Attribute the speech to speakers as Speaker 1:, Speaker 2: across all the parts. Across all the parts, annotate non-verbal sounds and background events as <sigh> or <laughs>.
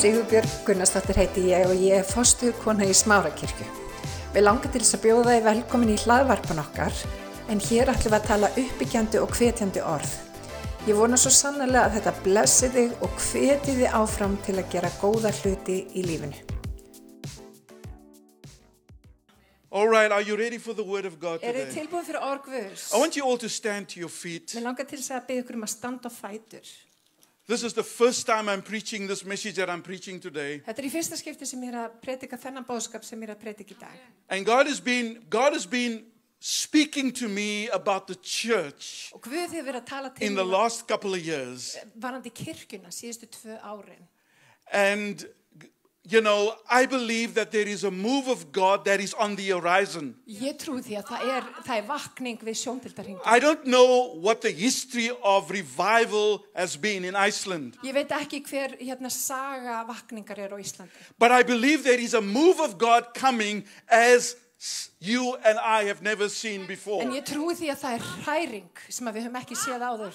Speaker 1: Sigurbjörg Gunnarsdóttir heiti ég og ég er fóstuðkona í Smárakirkju. Við langar til þess að bjóða þið velkomin í hlaðvarpun okkar, en hér ætlum við að tala uppbyggjandi og hvetjandi orð. Ég vona svo sannlega að þetta blessi þig og hveti þig áfram til að gera góða hluti í lífinu.
Speaker 2: All right, are you ready for the word of God
Speaker 1: Er þið
Speaker 2: today?
Speaker 1: tilbúin fyrir orgvus?
Speaker 2: I want you all to stand to your feet.
Speaker 1: Mér langar til þess að byggja ykkur um að standa á fætur.
Speaker 2: This is the first time I'm preaching this message that I'm preaching today.
Speaker 1: Þetta er í fyrsta skipti sem ég er að predika þennan bóðskap sem ég er að predika í dag.
Speaker 2: And God has been God has been speaking to me about the church
Speaker 1: Og Guð hefur verið að tala til
Speaker 2: in the
Speaker 1: mín
Speaker 2: last couple of years.
Speaker 1: varandi kirkjuna síðustu tvö árin.
Speaker 2: And you know, I believe that there is a move of God that is on the horizon.
Speaker 1: Ég trúi því að það er, það er vakning við sjóndeldarhingu.
Speaker 2: I don't know what the history of revival has been in Iceland,
Speaker 1: Ég veit ekki hver hérna saga vakningar er á Íslandi.
Speaker 2: but I believe there is a move of God coming as you and I have never seen before.
Speaker 1: En ég trúi því að það er hræring sem að við höfum ekki séð áður.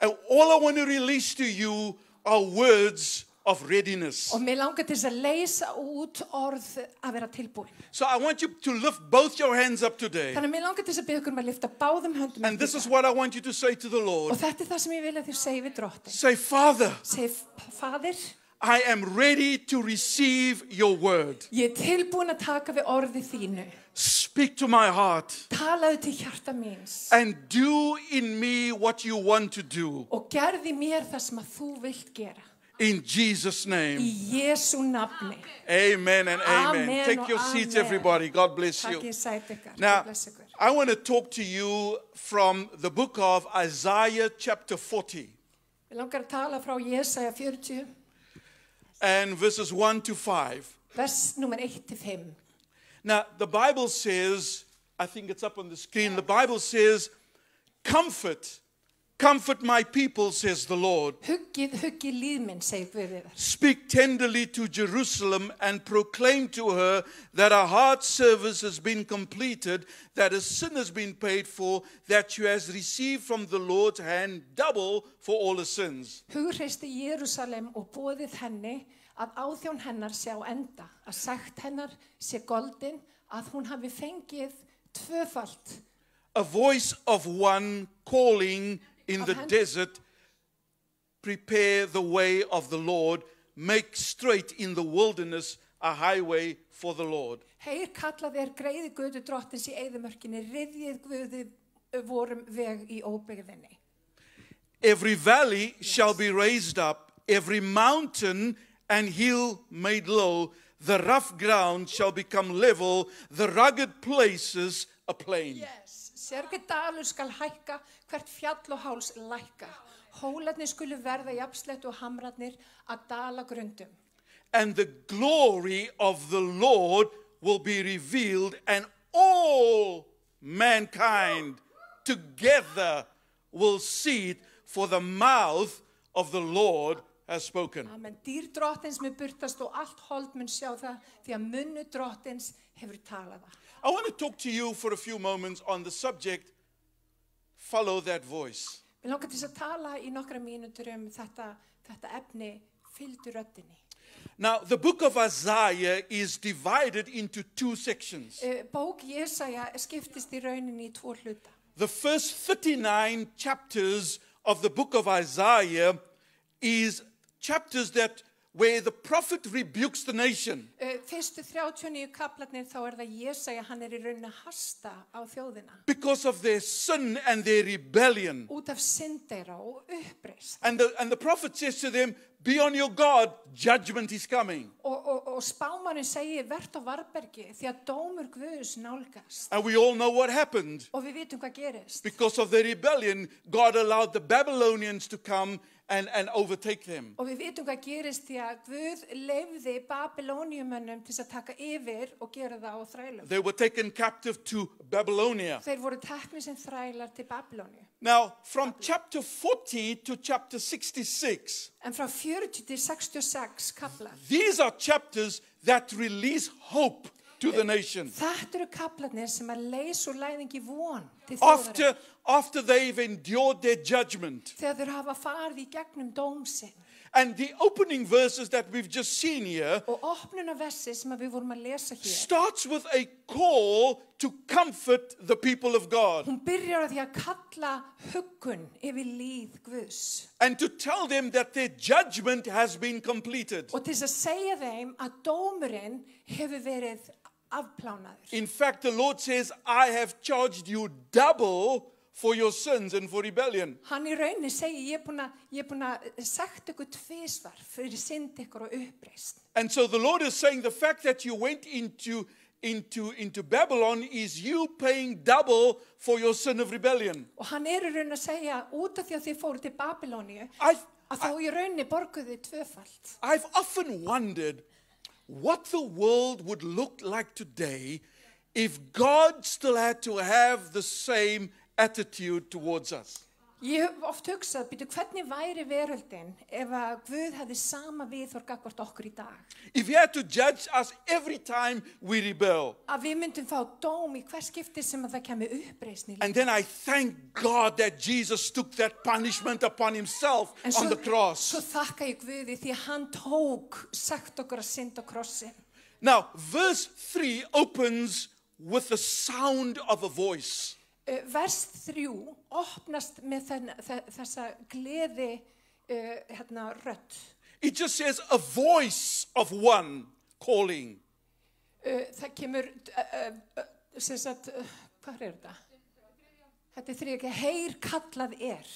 Speaker 2: And all I want to release to you are words of readiness.
Speaker 1: Og mér langar til þess að leysa út orð að vera tilbúin.
Speaker 2: So I want you to lift both your hands up today.
Speaker 1: Þannig að mér langar til þess að byggja ykkur um að lifta báðum höndum.
Speaker 2: And
Speaker 1: upp í
Speaker 2: this is
Speaker 1: það.
Speaker 2: what I want you to say to the Lord
Speaker 1: Og þetta er það sem ég vil að þér segi við drottin.
Speaker 2: Say, Father,
Speaker 1: Segi, "F- faðir,
Speaker 2: I am ready to receive your word.
Speaker 1: ég er tilbúin að taka við orði þínu.
Speaker 2: Speak to my heart
Speaker 1: Talaðu til hjarta míns.
Speaker 2: and do in me what you want to do.
Speaker 1: Og gerði mér það sem að þú vilt gera.
Speaker 2: In Jesus'
Speaker 1: Í
Speaker 2: name.
Speaker 1: Jésu nafni.
Speaker 2: Amen and amen.
Speaker 1: Amen,
Speaker 2: Take your
Speaker 1: oh,
Speaker 2: seats,
Speaker 1: amen.
Speaker 2: everybody. God bless
Speaker 1: Takk
Speaker 2: you.
Speaker 1: ég sæti ykkar. Guð
Speaker 2: Now,
Speaker 1: blessi ykkur.
Speaker 2: I want to talk to you from the book of Isaiah, chapter 40.
Speaker 1: Við langar að tala frá Jesaja 40,
Speaker 2: and verses 1 to 5.
Speaker 1: vers nummer 1-5.
Speaker 2: Now, the Bible says, I think it's up on the screen, the Bible says, Comfort, comfort my people, says the Lord.
Speaker 1: Huggið, huggið líðminn, segir Guðið.
Speaker 2: Speak tenderly to Jerusalem and proclaim to her that her hard service has been completed, that her sin has been paid for, that she has received from the Lord's hand double for all her sins.
Speaker 1: Hugreisti Jérusalem og bóðið henni að áþjón hennar sé á enda, að sagt hennar sé goldin, að hún hafi fengið tvöfalt.
Speaker 2: a voice of one calling in the
Speaker 1: hand-
Speaker 2: desert prepare the way of the lord make straight in the wilderness a highway for the lord
Speaker 1: Heyr kallað er greiði Guðu drottins í eigðumörkinni, riðjið Guðu vorum veg í óbyggðinni.
Speaker 2: every valley shall be raised up every mountain and hill made low the rough ground shall become level the rugged places a plain
Speaker 1: Yes. Sergi dalur skal hækka, hvert fjall og háls lækka. Hólarnir skulu verða jafnslett og hamrarnir að dala grundum.
Speaker 2: and the glory of the Lord will be revealed, and all mankind together will see it, for the mouth of the Lord has spoken.
Speaker 1: Amen. Dýr drottins mun burtast og allt hold mun sjá það því að munnu drottins hefur talað það.
Speaker 2: I want to talk to you for a few moments on the subject follow that voice.
Speaker 1: Mér langar til þess að tala í nokkra mínútur um þetta, þetta efni fylgdu röddinni.
Speaker 2: Now, the book of Isaiah is divided into two sections.
Speaker 1: Eh, Bók Jesaja skiptist í rauninni í tvo hluta.
Speaker 2: The first 39 chapters of the book of Isaiah is chapters that where the prophet rebukes the nation.
Speaker 1: Eh, Fyrstu 39 kaplarnir þá er það Jesaja, hann er í rauninni að hasta á þjóðina.
Speaker 2: Because of their sin and their rebellion.
Speaker 1: út af syndeira og uppreist
Speaker 2: And the, and the prophet says to them, Be on your guard, judgment is coming.
Speaker 1: og, og, og spámanin segir verðt á varbergi því að dómur Guðus nálgast
Speaker 2: And we all know what happened.
Speaker 1: og við vitum hvað gerist
Speaker 2: Because of their rebellion, God allowed the Babylonians to come and, and overtake them.
Speaker 1: og við vitum hvað gerist því að Guð lefði Babilóniumönnum til þess að taka yfir og gera það á þrælum
Speaker 2: They were taken captive to Babylonia.
Speaker 1: þeir voru teknir sem þrælar til Babilóni
Speaker 2: Now, from chapter 40 to chapter 66,
Speaker 1: en frá 40 til 66 kaplar
Speaker 2: These are chapters that release hope to the nation.
Speaker 1: þetta eru kaplarnir sem að leys og læðingi von til
Speaker 2: eh,
Speaker 1: þjóðarinn
Speaker 2: After, after they've endured their judgment
Speaker 1: þegar þeir hafa farið í gegnum dómsinn
Speaker 2: And the opening verses that we've just seen here
Speaker 1: Og opnunarversi sem að við vorum að lesa hér,
Speaker 2: starts with a call to comfort the people of God
Speaker 1: hún byrjar á því að kalla huggun yfir líð Guðs
Speaker 2: and to tell them that their judgment has been completed.
Speaker 1: og til þess að segja þeim að dómurinn hefur verið afplánaður.
Speaker 2: In fact, the Lord says, I have charged you double for your sins and for rebellion.
Speaker 1: Hann í rauninni segir, ég er búinn að- ég er búinn að sagt ykkur tvisvar fyrir synd ykkur og uppreist.
Speaker 2: And so the Lord is saying the fact that you went into, into, into Babylon is you paying double for your sin of rebellion.
Speaker 1: Og hann er í rauninni að segja, út af því að þið fóru til Babilóníu,
Speaker 2: I've,
Speaker 1: að þá í rauninni borguðu þið tvöfalt.
Speaker 2: I've often wondered what the world would look like today if God still had to have the same attitude towards us.
Speaker 1: Ég hef oft hugsað, býtu, hvernig væri veröldin ef að Guð hefði sama viðhorg akkvart okkur í dag?
Speaker 2: If He had to judge us every time we rebel.
Speaker 1: Að við myndum fá dóm í hver skipti sem að það kemur uppreisni.
Speaker 2: And then I thank God that Jesus took that punishment upon Himself on the
Speaker 1: svo
Speaker 2: cross.
Speaker 1: þakka ég Guði því að hann tók sagt okkur að synda á krossin.
Speaker 2: Now, verse 3 opens with the sound of a voice.
Speaker 1: Uh, vers 3 opnast með þenn, þe þessa gleði uh, hérna, rödd.
Speaker 2: It just says, a voice of one calling.
Speaker 1: Uh, það kemur, uh, uh, uh, sem sagt, uh, hvað er þetta? Þetta er þriðja, heyr kallað er.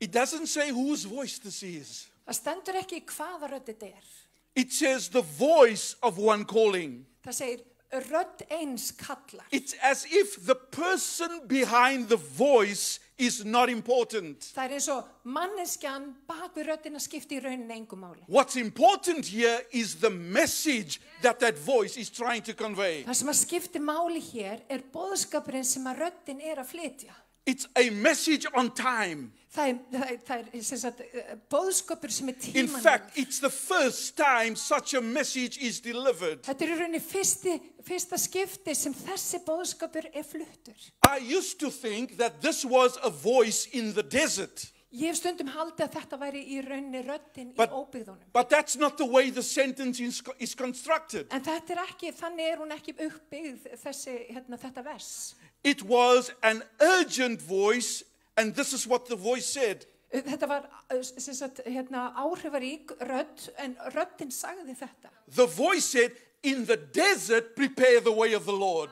Speaker 2: It doesn't say whose voice this is.
Speaker 1: Það stendur ekki hvaða rödd þetta er.
Speaker 2: It says the voice of one calling.
Speaker 1: Það segir rödd eins kallar.
Speaker 2: It's as if the person behind the voice is not important.
Speaker 1: Það er eins og manneskjan bak við röddina skipti í rauninni engum máli.
Speaker 2: What's important here is the message that that voice is trying to convey.
Speaker 1: Það sem að skipti máli hér er boðskapurinn sem að röddin er að flytja.
Speaker 2: It's a message on time.
Speaker 1: Það er, það er, það er sem sagt, eh, boðskapur sem er
Speaker 2: In
Speaker 1: tímanum.
Speaker 2: fact, it's the first time such a message is delivered.
Speaker 1: Þetta er í rauninni fyrsti, fyrsta skipti sem þessi boðskapur er fluttur.
Speaker 2: I used to think that this was a voice in the desert,
Speaker 1: Ég hef stundum haldið að þetta væri í rauninni röddin
Speaker 2: But-
Speaker 1: í óbyggðunum.
Speaker 2: but that's not the way the sentence is is constructed.
Speaker 1: En þetta er ekki, þannig er hún ekki uppbyggð þessi, hérna, þetta vers.
Speaker 2: It was an urgent voice, and this is what the voice said
Speaker 1: Þetta var uh, sem sagt, hérna, áhrifarík rödd, en röddin sagði þetta.
Speaker 2: The voice said, In the desert, prepare the way of the Lord.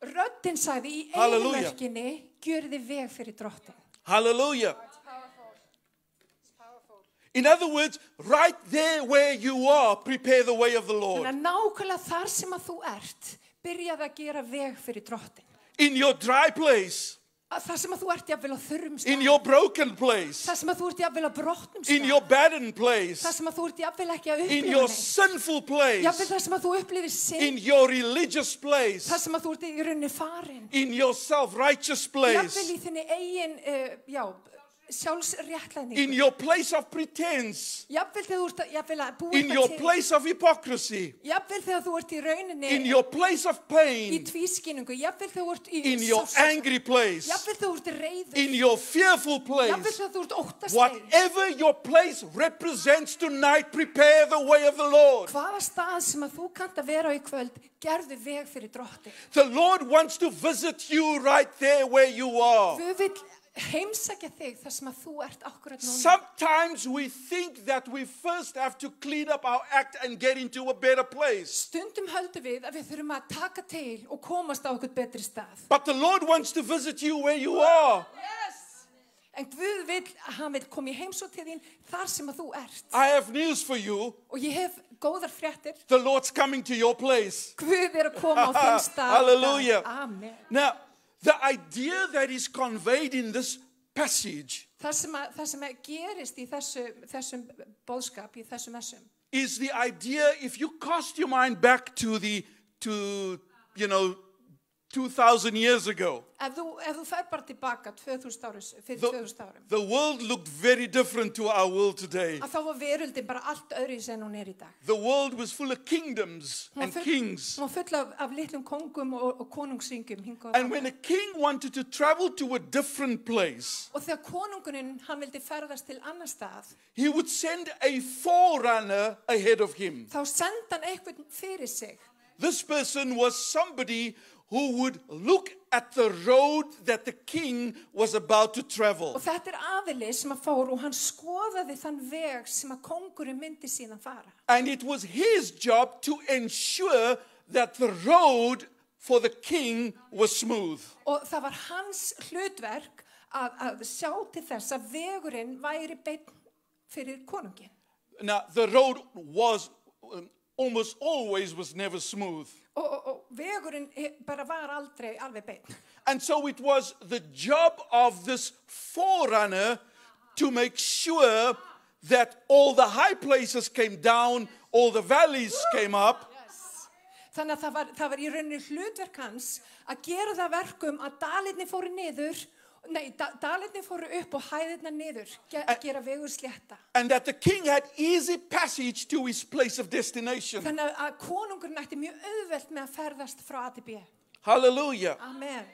Speaker 1: Röddin sagði í
Speaker 2: Hallelujah.
Speaker 1: eiginverkinni, gjör þið veg fyrir drottin.
Speaker 2: Hallelujah. In other words, right there where you are, prepare the way of the
Speaker 1: Þannig
Speaker 2: Lord.
Speaker 1: að nákvæmlega þar sem að þú ert, byrjaði að gera veg fyrir drottin.
Speaker 2: In your dry place,
Speaker 1: Þar sem að þú ert jafnvel á þurrum
Speaker 2: in
Speaker 1: stað.
Speaker 2: your broken place,
Speaker 1: Þar sem að þú ert jafnvel á brotnum
Speaker 2: in
Speaker 1: stað.
Speaker 2: your barren place,
Speaker 1: Þar sem að þú ert jafnvel ekki að
Speaker 2: in
Speaker 1: upplifa
Speaker 2: your
Speaker 1: neitt.
Speaker 2: sinful
Speaker 1: Jafnvel
Speaker 2: place,
Speaker 1: þar sem að þú upplifir
Speaker 2: in
Speaker 1: sinn.
Speaker 2: your religious place,
Speaker 1: Þar sem að þú ert í rauninni farin.
Speaker 2: in your self righteous
Speaker 1: Jafnvel
Speaker 2: place,
Speaker 1: í þinni eigin, uh, já, sjálfsréttlæningu.
Speaker 2: in your place of pretense.
Speaker 1: Jafnvel þegar þú ert að, jafnvel að búa
Speaker 2: in your
Speaker 1: eitthvað til.
Speaker 2: place of hypocrisy,
Speaker 1: Jafnvel þegar þú ert í rauninni
Speaker 2: in your place of
Speaker 1: í
Speaker 2: pain,
Speaker 1: tvískinningu, jafnvel þegar þú ert í
Speaker 2: in your
Speaker 1: sársauka,
Speaker 2: angry place,
Speaker 1: jafnvel þegar þú ert reiður,
Speaker 2: in your fearful
Speaker 1: jafnvel
Speaker 2: place.
Speaker 1: þegar þú ert óttaslegin.
Speaker 2: Whatever your place represents tonight, prepare the way of the Lord.
Speaker 1: Hvaða stað sem að þú kannt að vera á í kvöld, gerðu veg fyrir drotti.
Speaker 2: The Lord wants to visit you right there where you are.
Speaker 1: Guð vil heimsækja þig þar sem að þú ert akkurat núna.
Speaker 2: Sometimes we think that we first have to clean up our act and get into a better place.
Speaker 1: Stundum höldum við að við þurfum að taka til og komast á eitthvað betri stað.
Speaker 2: But the Lord wants to visit you where you are.
Speaker 1: En Guð vil að hann vil koma í heimsótt til þín þar sem að þú ert.
Speaker 2: I have news for you.
Speaker 1: Og ég hef góðar fréttir.
Speaker 2: The Lord's coming to your place.
Speaker 1: Guð er að koma á þinn stað.
Speaker 2: Hallelujah.
Speaker 1: Amen.
Speaker 2: Now, the idea that is conveyed in this passage
Speaker 1: Það sem, að, það sem að gerist í þessu, þessum bóðskap, í þessum þessum,
Speaker 2: is the idea if you cast your mind back to the to you know 2,000 years ago,
Speaker 1: Ef þú, ef þú fer bara tilbaka 2000 áris, fyrir
Speaker 2: the,
Speaker 1: 2000 árum,
Speaker 2: the world looked very different to our world today.
Speaker 1: að þá var veröldin bara allt öðru í en hún er í dag.
Speaker 2: The world was full of kingdoms
Speaker 1: Hún var
Speaker 2: and kings.
Speaker 1: Hún var full af, af litlum kongum og, og konungsringum hingað
Speaker 2: And
Speaker 1: og
Speaker 2: when
Speaker 1: þangað.
Speaker 2: a king wanted to travel to a different place,
Speaker 1: Og þegar konunguninn, hann vildi ferðast til annar stað,
Speaker 2: he would send a forerunner ahead of him.
Speaker 1: þá senda hann eitthvað fyrir sig.
Speaker 2: This person was somebody who would look at the road that the king was about to travel.
Speaker 1: Og þetta er aðili sem að fór og hann skoðaði þann veg sem að kongurinn myndi síðan fara.
Speaker 2: And it was his job to ensure that the road for the king was smooth.
Speaker 1: Og það var hans hlutverk að, að sjá til þess að vegurinn væri beinn fyrir konungin.
Speaker 2: Now, the road was um, almost always was never smooth.
Speaker 1: Og, og, og vegurinn he- bara var aldrei alveg beinn.
Speaker 2: And so it was the job of this forerunner to make sure that all the high places came down, all the valleys came up.
Speaker 1: Þannig að það var, það var í rauninni hlutverk hans að gera það verkum að dalitni fóru niður, nei, da, dalitni fóru upp og hæðirna niður, ge, gera vegur slétta.
Speaker 2: and that the king had easy passage to his place of destination.
Speaker 1: Þannig að- að konungurinn ætti mjög auðvelt með að ferðast frá A til B.
Speaker 2: Hallelujah.
Speaker 1: Amen.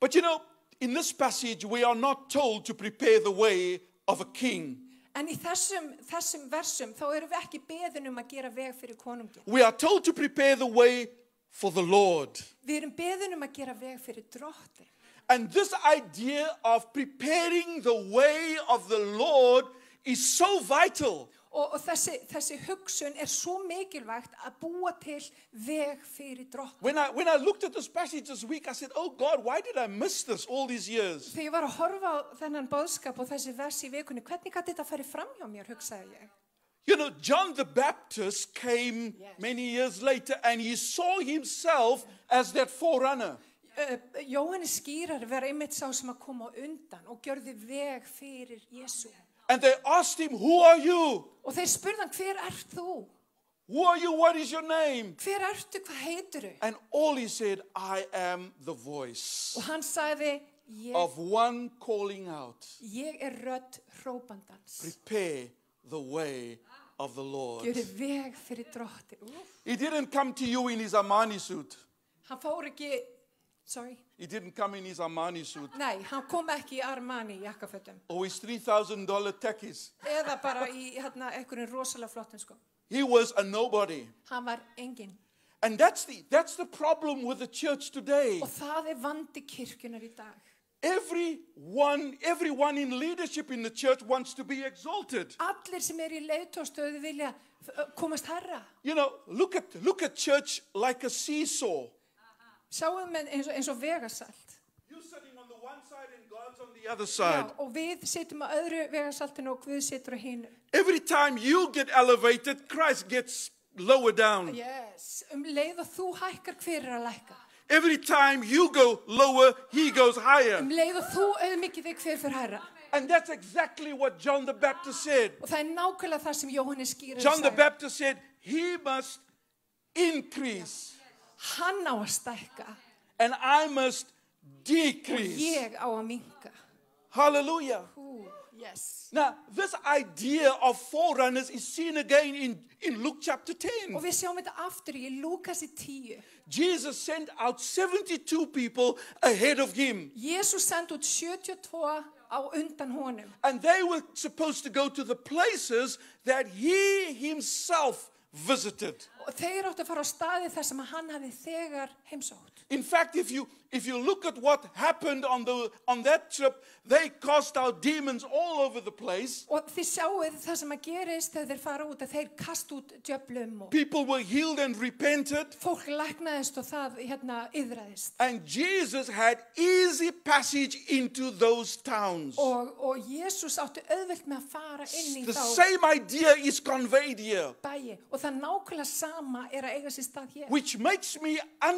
Speaker 2: But you know, in this passage, we are not told to prepare the way of a king.
Speaker 1: En í þessum, þessum versum þá erum við ekki beðin um að gera veg fyrir konungin.
Speaker 2: We are told to prepare the way for the Lord.
Speaker 1: Við erum beðin um að gera veg fyrir dróttin.
Speaker 2: And this idea of preparing the way of the Lord is so vital
Speaker 1: Og, og þessi, þessi hugsun er svo mikilvægt að búa til veg fyrir dróttin.
Speaker 2: When I, when I looked at this passage this week, I said, Oh God, why did I miss this all these years?
Speaker 1: Þegar ég var að horfa á þennan boðskap og þessi vers í vikunni, hvernig gæti þetta að fara fram hjá mér, hugsaði ég.
Speaker 2: You know, John the Baptist came many years later and he saw himself as that forerunner.
Speaker 1: Uh, Jóhannes skýrar var einmitt sá sem að koma á undan og gjörði veg fyrir Jésu.
Speaker 2: And they asked him, Who are you?
Speaker 1: Og þeir spurðan, hver ert þú?
Speaker 2: Who are you? What is your name?
Speaker 1: Hver ertu, hvað heituru?
Speaker 2: And all he said, I am the voice
Speaker 1: Og hann sagði, ég,
Speaker 2: of one calling out.
Speaker 1: ég er rödd hrópandans.
Speaker 2: Prepare the way of the Lord.
Speaker 1: Gjörði veg fyrir dróttin. Úff.
Speaker 2: He didn't come to you in his Armani suit.
Speaker 1: Hann fór ekki, sorry,
Speaker 2: He didn't come in his Armani suit
Speaker 1: nei, hann kom ekki í Armani jakkafötum.
Speaker 2: or his $3,000 techies.
Speaker 1: Eða bara í hérna, einhverjum rosalega flottin sko.
Speaker 2: He was a nobody.
Speaker 1: Hann var enginn.
Speaker 2: And that's the, that's the problem with the church today.
Speaker 1: Og það er vandi kirkjunar í dag.
Speaker 2: Everyone, everyone in leadership in the church wants to be exalted.
Speaker 1: Allir sem eru í leiðtóðstöðu vilja uh, komast herra.
Speaker 2: You know, look at, look at church like a seesaw.
Speaker 1: Sjáum en, eins, og, eins og vegasalt.
Speaker 2: You're sitting on the one side and God's on the other
Speaker 1: Já,
Speaker 2: side.
Speaker 1: og við sitjum á öðru vegasaltinu og Guð situr á hinu.
Speaker 2: Every time you get elevated, Christ gets lower down.
Speaker 1: Yes. Um leið og þú hækkar hver er að lækka.
Speaker 2: Every time you go lower, he goes higher.
Speaker 1: Um leið og þú auðmikið þig hver fyrir herra.
Speaker 2: And that's exactly what John the Baptist said.
Speaker 1: Og það er nákvæmlega það sem Jóhannes skýrir.
Speaker 2: <laughs> John the Baptist said, He must increase.
Speaker 1: Hann á að stækka.
Speaker 2: and I must decrease.
Speaker 1: Ég á að minka.
Speaker 2: Hallelujah.
Speaker 1: Ú, yes.
Speaker 2: Now, this idea of forerunners is seen again in, in Luke chapter 10.
Speaker 1: Og við sjáum þetta aftur í Lúkasi 10.
Speaker 2: Jesus sent out 72 people ahead of him,
Speaker 1: Jésús sendi út 72 á undan honum
Speaker 2: and they were supposed to go to the places that he himself visited.
Speaker 1: og þeir áttu að fara á staði þar sem hann hafi þegar heimsótt.
Speaker 2: In fact, if you if you look at what happened on the on that trip, they cast out demons all over the place.
Speaker 1: Og þið sjáuð það sem að gerist þegar þeir fara út að þeir kast út djöflum og
Speaker 2: People were healed and repented.
Speaker 1: fólk læknaðist og það hérna yðraðist.
Speaker 2: And Jesus had easy passage into those towns.
Speaker 1: Og, og Jésús átti auðvelt með að fara inn í
Speaker 2: the
Speaker 1: þá
Speaker 2: same idea is conveyed here.
Speaker 1: bæi og það nákvæmlega sama er að eiga sér stað hér.
Speaker 2: which makes me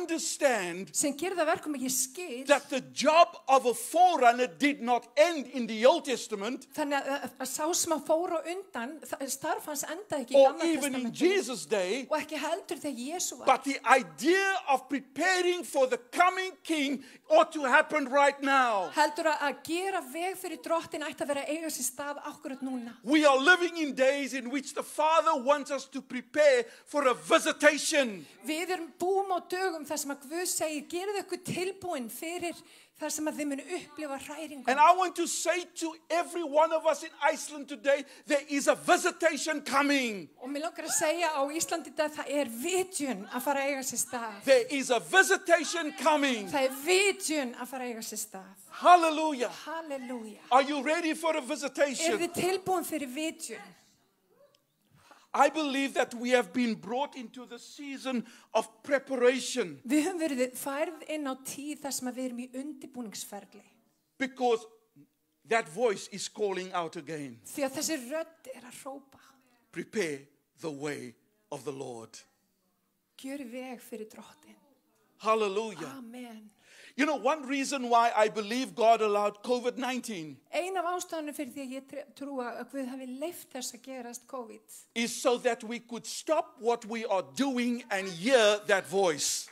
Speaker 2: understand
Speaker 1: Sem gerir það verkum að ég skil.
Speaker 2: that the job of a forerunner did not end in the Old Testament
Speaker 1: Þannig að, að, að sá sem að fóra undan, það- starf hans endaði ekki í
Speaker 2: or
Speaker 1: gamla
Speaker 2: even in
Speaker 1: testamentinu
Speaker 2: Jesus' day,
Speaker 1: og ekki heldur þegar Jésu var.
Speaker 2: but the idea of preparing for the coming king ought to happen right now.
Speaker 1: Heldur að, að gera veg fyrir drottin ætti að vera að eiga sér stað akkurat núna.
Speaker 2: We are living in days in which the Father wants us to prepare for a visitation.
Speaker 1: Við erum búum á dögum þar sem að Guð segir, gerðu ykkur tilbúin fyrir þar sem að þið munu upplifa hræringu.
Speaker 2: And I want to say to every one of us in Iceland today there is a visitation coming.
Speaker 1: Og mér langar að segja á Íslandi í dag, það er vitjun að fara að eiga sér stað.
Speaker 2: There is a visitation coming.
Speaker 1: Það er vitjun að fara að eiga sér stað.
Speaker 2: Hallelujah.
Speaker 1: Halleluja.
Speaker 2: Are you ready for a
Speaker 1: Er
Speaker 2: visitation?
Speaker 1: þið tilbúin fyrir vitjun?
Speaker 2: I believe that we have been brought into the season of preparation
Speaker 1: Við höfum verið færð inn á tíð þar sem að við erum í undibúningsferli.
Speaker 2: because that voice is calling out again.
Speaker 1: Því að þessi rödd er að hrópa.
Speaker 2: Prepare the way of the Lord.
Speaker 1: Gjöru veg fyrir drottin.
Speaker 2: Hallelujah.
Speaker 1: Amen.
Speaker 2: You know, one reason why I believe God allowed COVID 19
Speaker 1: Ein af ástofanum fyrir því að ég tr- trúa að Guð hafi leift þess að gerast COVID
Speaker 2: is so that we could stop what we are doing and hear that voice.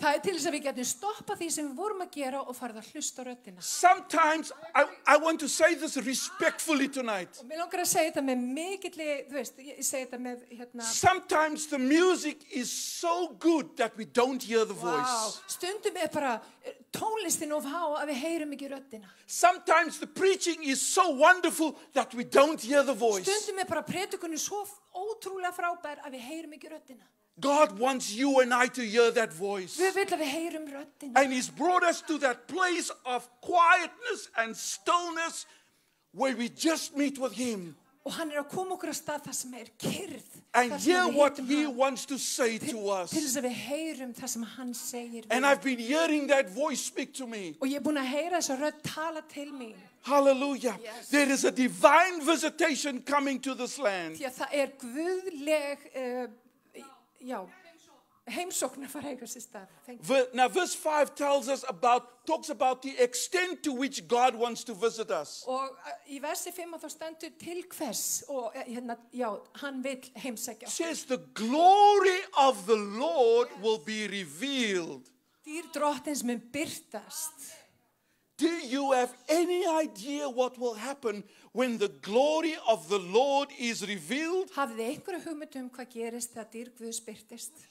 Speaker 1: Það er til þess að við getum stoppað því sem við vorum að gera og farið að hlusta á röddina.
Speaker 2: Sometimes I, I want to say this respectfully tonight.
Speaker 1: Mér langar að segja þetta með mikilli, þú veist, ég ég segi þetta með hérna,
Speaker 2: Sometimes the music is so good that we don't hear the voice.
Speaker 1: stundum er bara eh, tónlistin of há að við heyrum ekki röddina.
Speaker 2: Sometimes the preaching is so wonderful that we don't hear the voice.
Speaker 1: Stundum er bara predikunni svo f- ótrúlega frábær að við heyrum ekki röddina.
Speaker 2: God wants you and I to hear that voice.
Speaker 1: Við vil að við heyrum röddina.
Speaker 2: And He's brought us to that place of quietness and stillness where we just meet with Him
Speaker 1: Og hann er að koma okkur að stað það sem er kyrð.
Speaker 2: and
Speaker 1: þar sem
Speaker 2: hear
Speaker 1: við
Speaker 2: what
Speaker 1: hitum
Speaker 2: He
Speaker 1: hann.
Speaker 2: wants to say to
Speaker 1: Til
Speaker 2: us.
Speaker 1: þess að við heyrum það sem hann segir. við
Speaker 2: And I've been hearing that voice speak to me.
Speaker 1: Og ég er búin að heyra þess að rödd tala til mín.
Speaker 2: Hallelujah.
Speaker 1: Yes.
Speaker 2: There is a divine visitation coming to this land.
Speaker 1: Því að það er guðleg, uh, já, heimsókn að fara að eiga sér stað. Thank you.
Speaker 2: Ver- Now, verse 5 tells us about, talks about the extent to which God wants to visit us.
Speaker 1: Og eh, í versi 5 þá stendur til hvers og eh, hérna, já, hann vil heimsækja. okkur.
Speaker 2: says the glory of the Lord will be revealed.
Speaker 1: Dýr drottins mun byrtast.
Speaker 2: Do you have any idea what will happen when the glory of the Lord is revealed?
Speaker 1: Hafið þið einhverju hugmynd um hvað gerist þegar dýr guðs byrtist?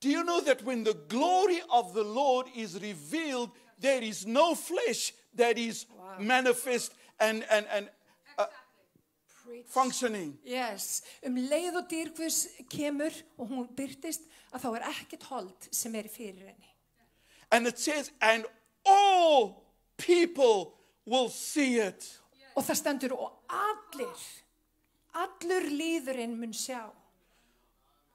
Speaker 2: Do you know that when the glory of the Lord is revealed, there is no flesh that is manifest and, and, and uh, functioning?
Speaker 1: Yes, um leið og dýr guðs kemur og hún byrtist að þá er ekkert hold sem er í fyrir henni.
Speaker 2: And it says, and all people will see it.
Speaker 1: Og það stendur og allir, allur líðurinn mun sjá.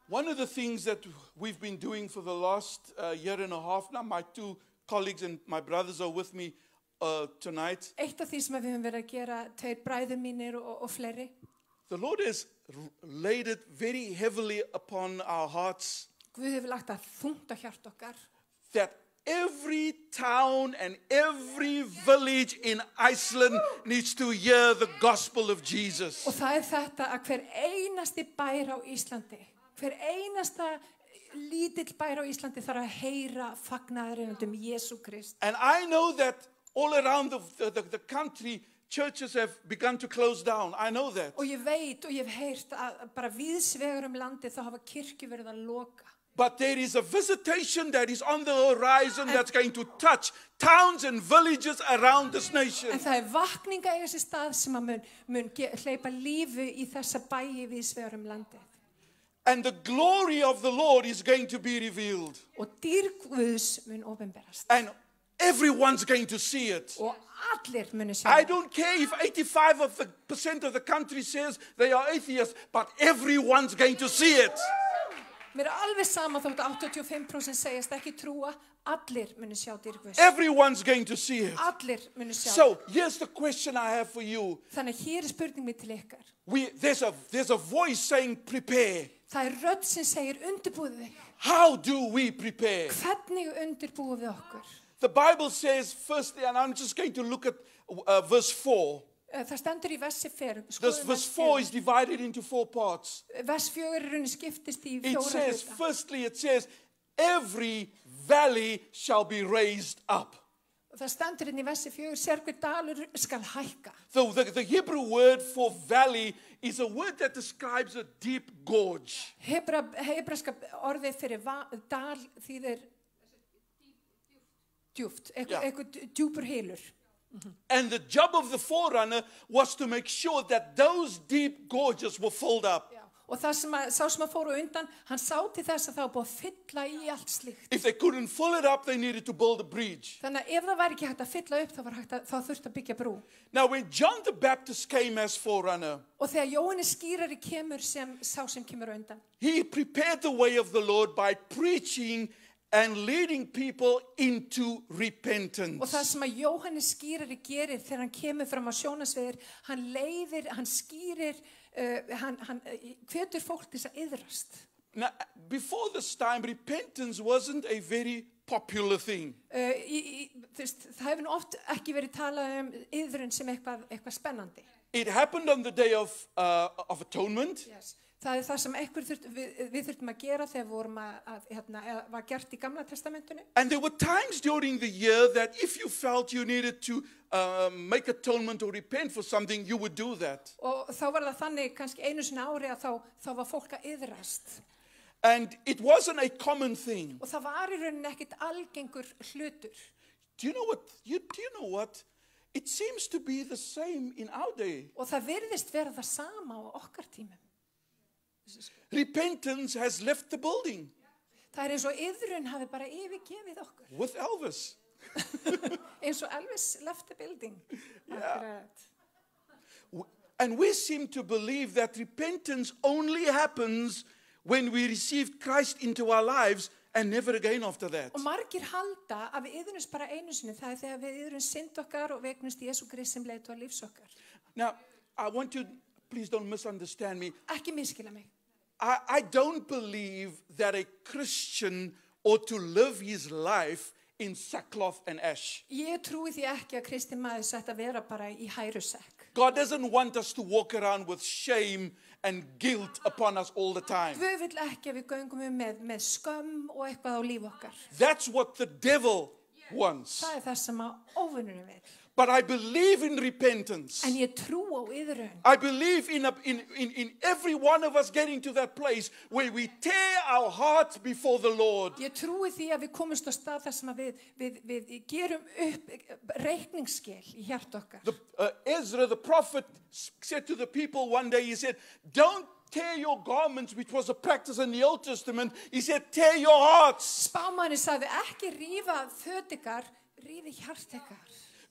Speaker 2: One of the things that we've been doing for the last uh, year and a half now, my two colleagues and my brothers are with me uh, tonight.
Speaker 1: Eitt af því sem við höfum verið að gera, tveir bræður mínir og, og fleiri,
Speaker 2: The Lord has r- laid it very heavily upon our hearts
Speaker 1: Guð hefur lagt að þungt á hjart okkar
Speaker 2: that every town and every village in Iceland needs to hear the gospel of Jesus.
Speaker 1: og það er þetta að hver einasti bær á Íslandi, hver einasta lítill bær á Íslandi þarf að heyra fagnaðurinn um Jésu Krist.
Speaker 2: And I know that all around the, the, the- the country, churches have begun to close down. I know that.
Speaker 1: Og ég veit og ég hef heyrt að bara viðsvegur um landi þá hafa kirkju verið að loka.
Speaker 2: But there is a visitation that is on the horizon that's going to touch towns and villages around this
Speaker 1: En
Speaker 2: nation.
Speaker 1: það er vakninga eiga sér stað sem að mun, mun ge- hleypa lífu í þessa bæi viðsvegur um landið.
Speaker 2: And the glory of the Lord is going to be revealed.
Speaker 1: Og dýrguðs mun ofinberast.
Speaker 2: And everyone's going to see it.
Speaker 1: og allir muni sjá
Speaker 2: I
Speaker 1: það.
Speaker 2: don't care if 85 of the percent of the country says they are atheists, but everyone's going to see it.
Speaker 1: Mér er alveg sama þótt 85% segjast ekki trúa, allir munu sjá dýrgvist.
Speaker 2: Everyone's going to see it.
Speaker 1: Allir munu sjá.
Speaker 2: So here's the question I have for you.
Speaker 1: Þannig að hér er spurning mér til ykkar.
Speaker 2: We, there's, a, there's a voice saying, prepare.
Speaker 1: Það er rödd sem segir undirbúðu þig.
Speaker 2: How do we prepare?
Speaker 1: Hvernig undirbúum við okkur?
Speaker 2: The Bible says, firstly, and I'm just going to look at uh, verse 4.
Speaker 1: Eh, Það stendur í vessi fer.
Speaker 2: This verse 4 is divided into four parts.
Speaker 1: Vess fjögur er raunin skiptist í
Speaker 2: It
Speaker 1: fjóra
Speaker 2: says,
Speaker 1: hluta.
Speaker 2: firstly, it says, every valley shall be raised up.
Speaker 1: Og Það stendur inn í vessi fjögur, sérgur dalur skal hækka.
Speaker 2: So the, the Hebrew word for valley is a word that describes a deep gorge.
Speaker 1: Hebra, hebraska orðið fyrir va, dal þýðir djúft,
Speaker 2: Já.
Speaker 1: eitthvað yeah. djúpur hilur.
Speaker 2: And the job of the forerunner was to make sure that those deep gorges were filled up.
Speaker 1: Og það sem að, sá sem að fóru undan, hann sá til þess að það var búið að fylla í allt slíkt.
Speaker 2: If they couldn't fill it up, they needed to build a bridge.
Speaker 1: Þannig að ef það væri ekki hægt að fylla upp, þá, var hægt að, þá þurfti að byggja brú.
Speaker 2: Now, when John the Baptist came as forerunner,
Speaker 1: Og þegar Jóhannes skýrari kemur sem sá sem kemur á undan,
Speaker 2: he prepared the way of the Lord by preaching and leading people into
Speaker 1: Og það
Speaker 2: repentance.
Speaker 1: sem að Jóhannes skýrari gerir þegar hann kemur fram á sjónasviðir, hann leiðir, hann skýrir, uh, hann, hann eh, hvetur fólk til þess að yðrast.
Speaker 2: Now, before this time, repentance wasn't a very popular thing.
Speaker 1: Uh, í, í, þvist, það hefur nú oft ekki verið talað um yðrun sem eitthvað, eitthvað spennandi.
Speaker 2: It happened on the day of, uh, of atonement.
Speaker 1: Það er það sem einhver þurft, við, við þurftum að gera þegar vorum að, að hérna, eða var gert í gamla testamentinu.
Speaker 2: And there were times during the year that if you felt you needed to uh, make atonement or repent for something, you would do that.
Speaker 1: Og þá var það þannig kannski einu sinna ári að þá, þá var fólk að yðrast.
Speaker 2: And it wasn't a common thing.
Speaker 1: Og það var í rauninni ekkit algengur hlutur.
Speaker 2: Do you know what? You, do you know what? It seems to be the same in our day.
Speaker 1: Og það virðist vera það sama á okkar tímum.
Speaker 2: Repentance has left the building
Speaker 1: Það er eins og yðrun hafi bara yfirgefið okkur.
Speaker 2: with Elvis.
Speaker 1: Eins og Elvis left the building. Akkurat.
Speaker 2: W- And we seem to believe that repentance only happens when we receive Christ into our lives and never again after that.
Speaker 1: Og margir halda að við yðrunst bara einu sinni. Það er þegar við yðrun synd okkar og vegnust Jésu Krist sem leitu að lífs okkar.
Speaker 2: Now, I want to, please don't misunderstand me.
Speaker 1: Ekki miskila mig.
Speaker 2: I, I don't believe that a Christian ought to live his life in sackcloth and ash.
Speaker 1: Ég trúi því ekki að Kristi maður sætt að vera bara í hærusekk.
Speaker 2: God doesn't want us to walk around with shame and guilt upon us all the time.
Speaker 1: Guð vill ekki að við göngum um með, með skömm og eitthvað á líf okkar.
Speaker 2: That's what the devil wants.
Speaker 1: Það er það sem að óvinnurinn vil.
Speaker 2: But I believe in repentance.
Speaker 1: En ég trú á yðrun.
Speaker 2: I believe in, a, in, in, in every one of us getting to that place where we tear our hearts before the Lord.
Speaker 1: Ég trúi því að við komumst á stað þar sem að við, við, við gerum upp reikningsskil í hjart okkar.
Speaker 2: The, uh, Ezra the prophet s- said to the people one day, he said, Don't tear your garments, which was a practice in the Old Testament. He said, Tear your hearts.
Speaker 1: Spámanni sagði ekki rífa fötikar, rífi hjart ykkar.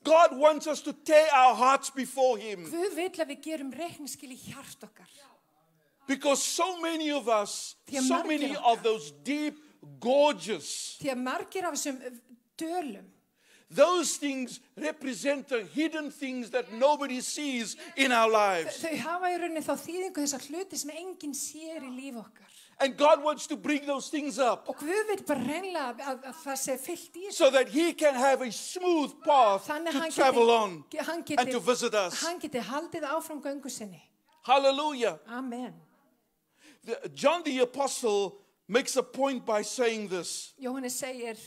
Speaker 2: God wants us to tear our hearts before Him
Speaker 1: Guð vill að við gerum reikningsskil í hjart okkar.
Speaker 2: because so many of us,
Speaker 1: Te
Speaker 2: so
Speaker 1: marca.
Speaker 2: many of those deep gorges,
Speaker 1: Því að margir af þessum dölum,
Speaker 2: those things represent the hidden things that nobody sees in our lives.
Speaker 1: þau hafa í rauninni þá þýðingu þessar hluti sem enginn sér í líf okkar.
Speaker 2: And God wants to bring those things up
Speaker 1: Og Guð vill bara reynlega að, að, að það sé fyllt í þessu.
Speaker 2: so that He can have a smooth path
Speaker 1: Þannig
Speaker 2: to
Speaker 1: hann
Speaker 2: travel on
Speaker 1: geti, hann,
Speaker 2: and to visit
Speaker 1: geti,
Speaker 2: us.
Speaker 1: hann geti haldið áfram göngu sinni.
Speaker 2: Hallelujah.
Speaker 1: Amen.
Speaker 2: The- John the Apostle makes a point by saying this.
Speaker 1: Jóhannes segir,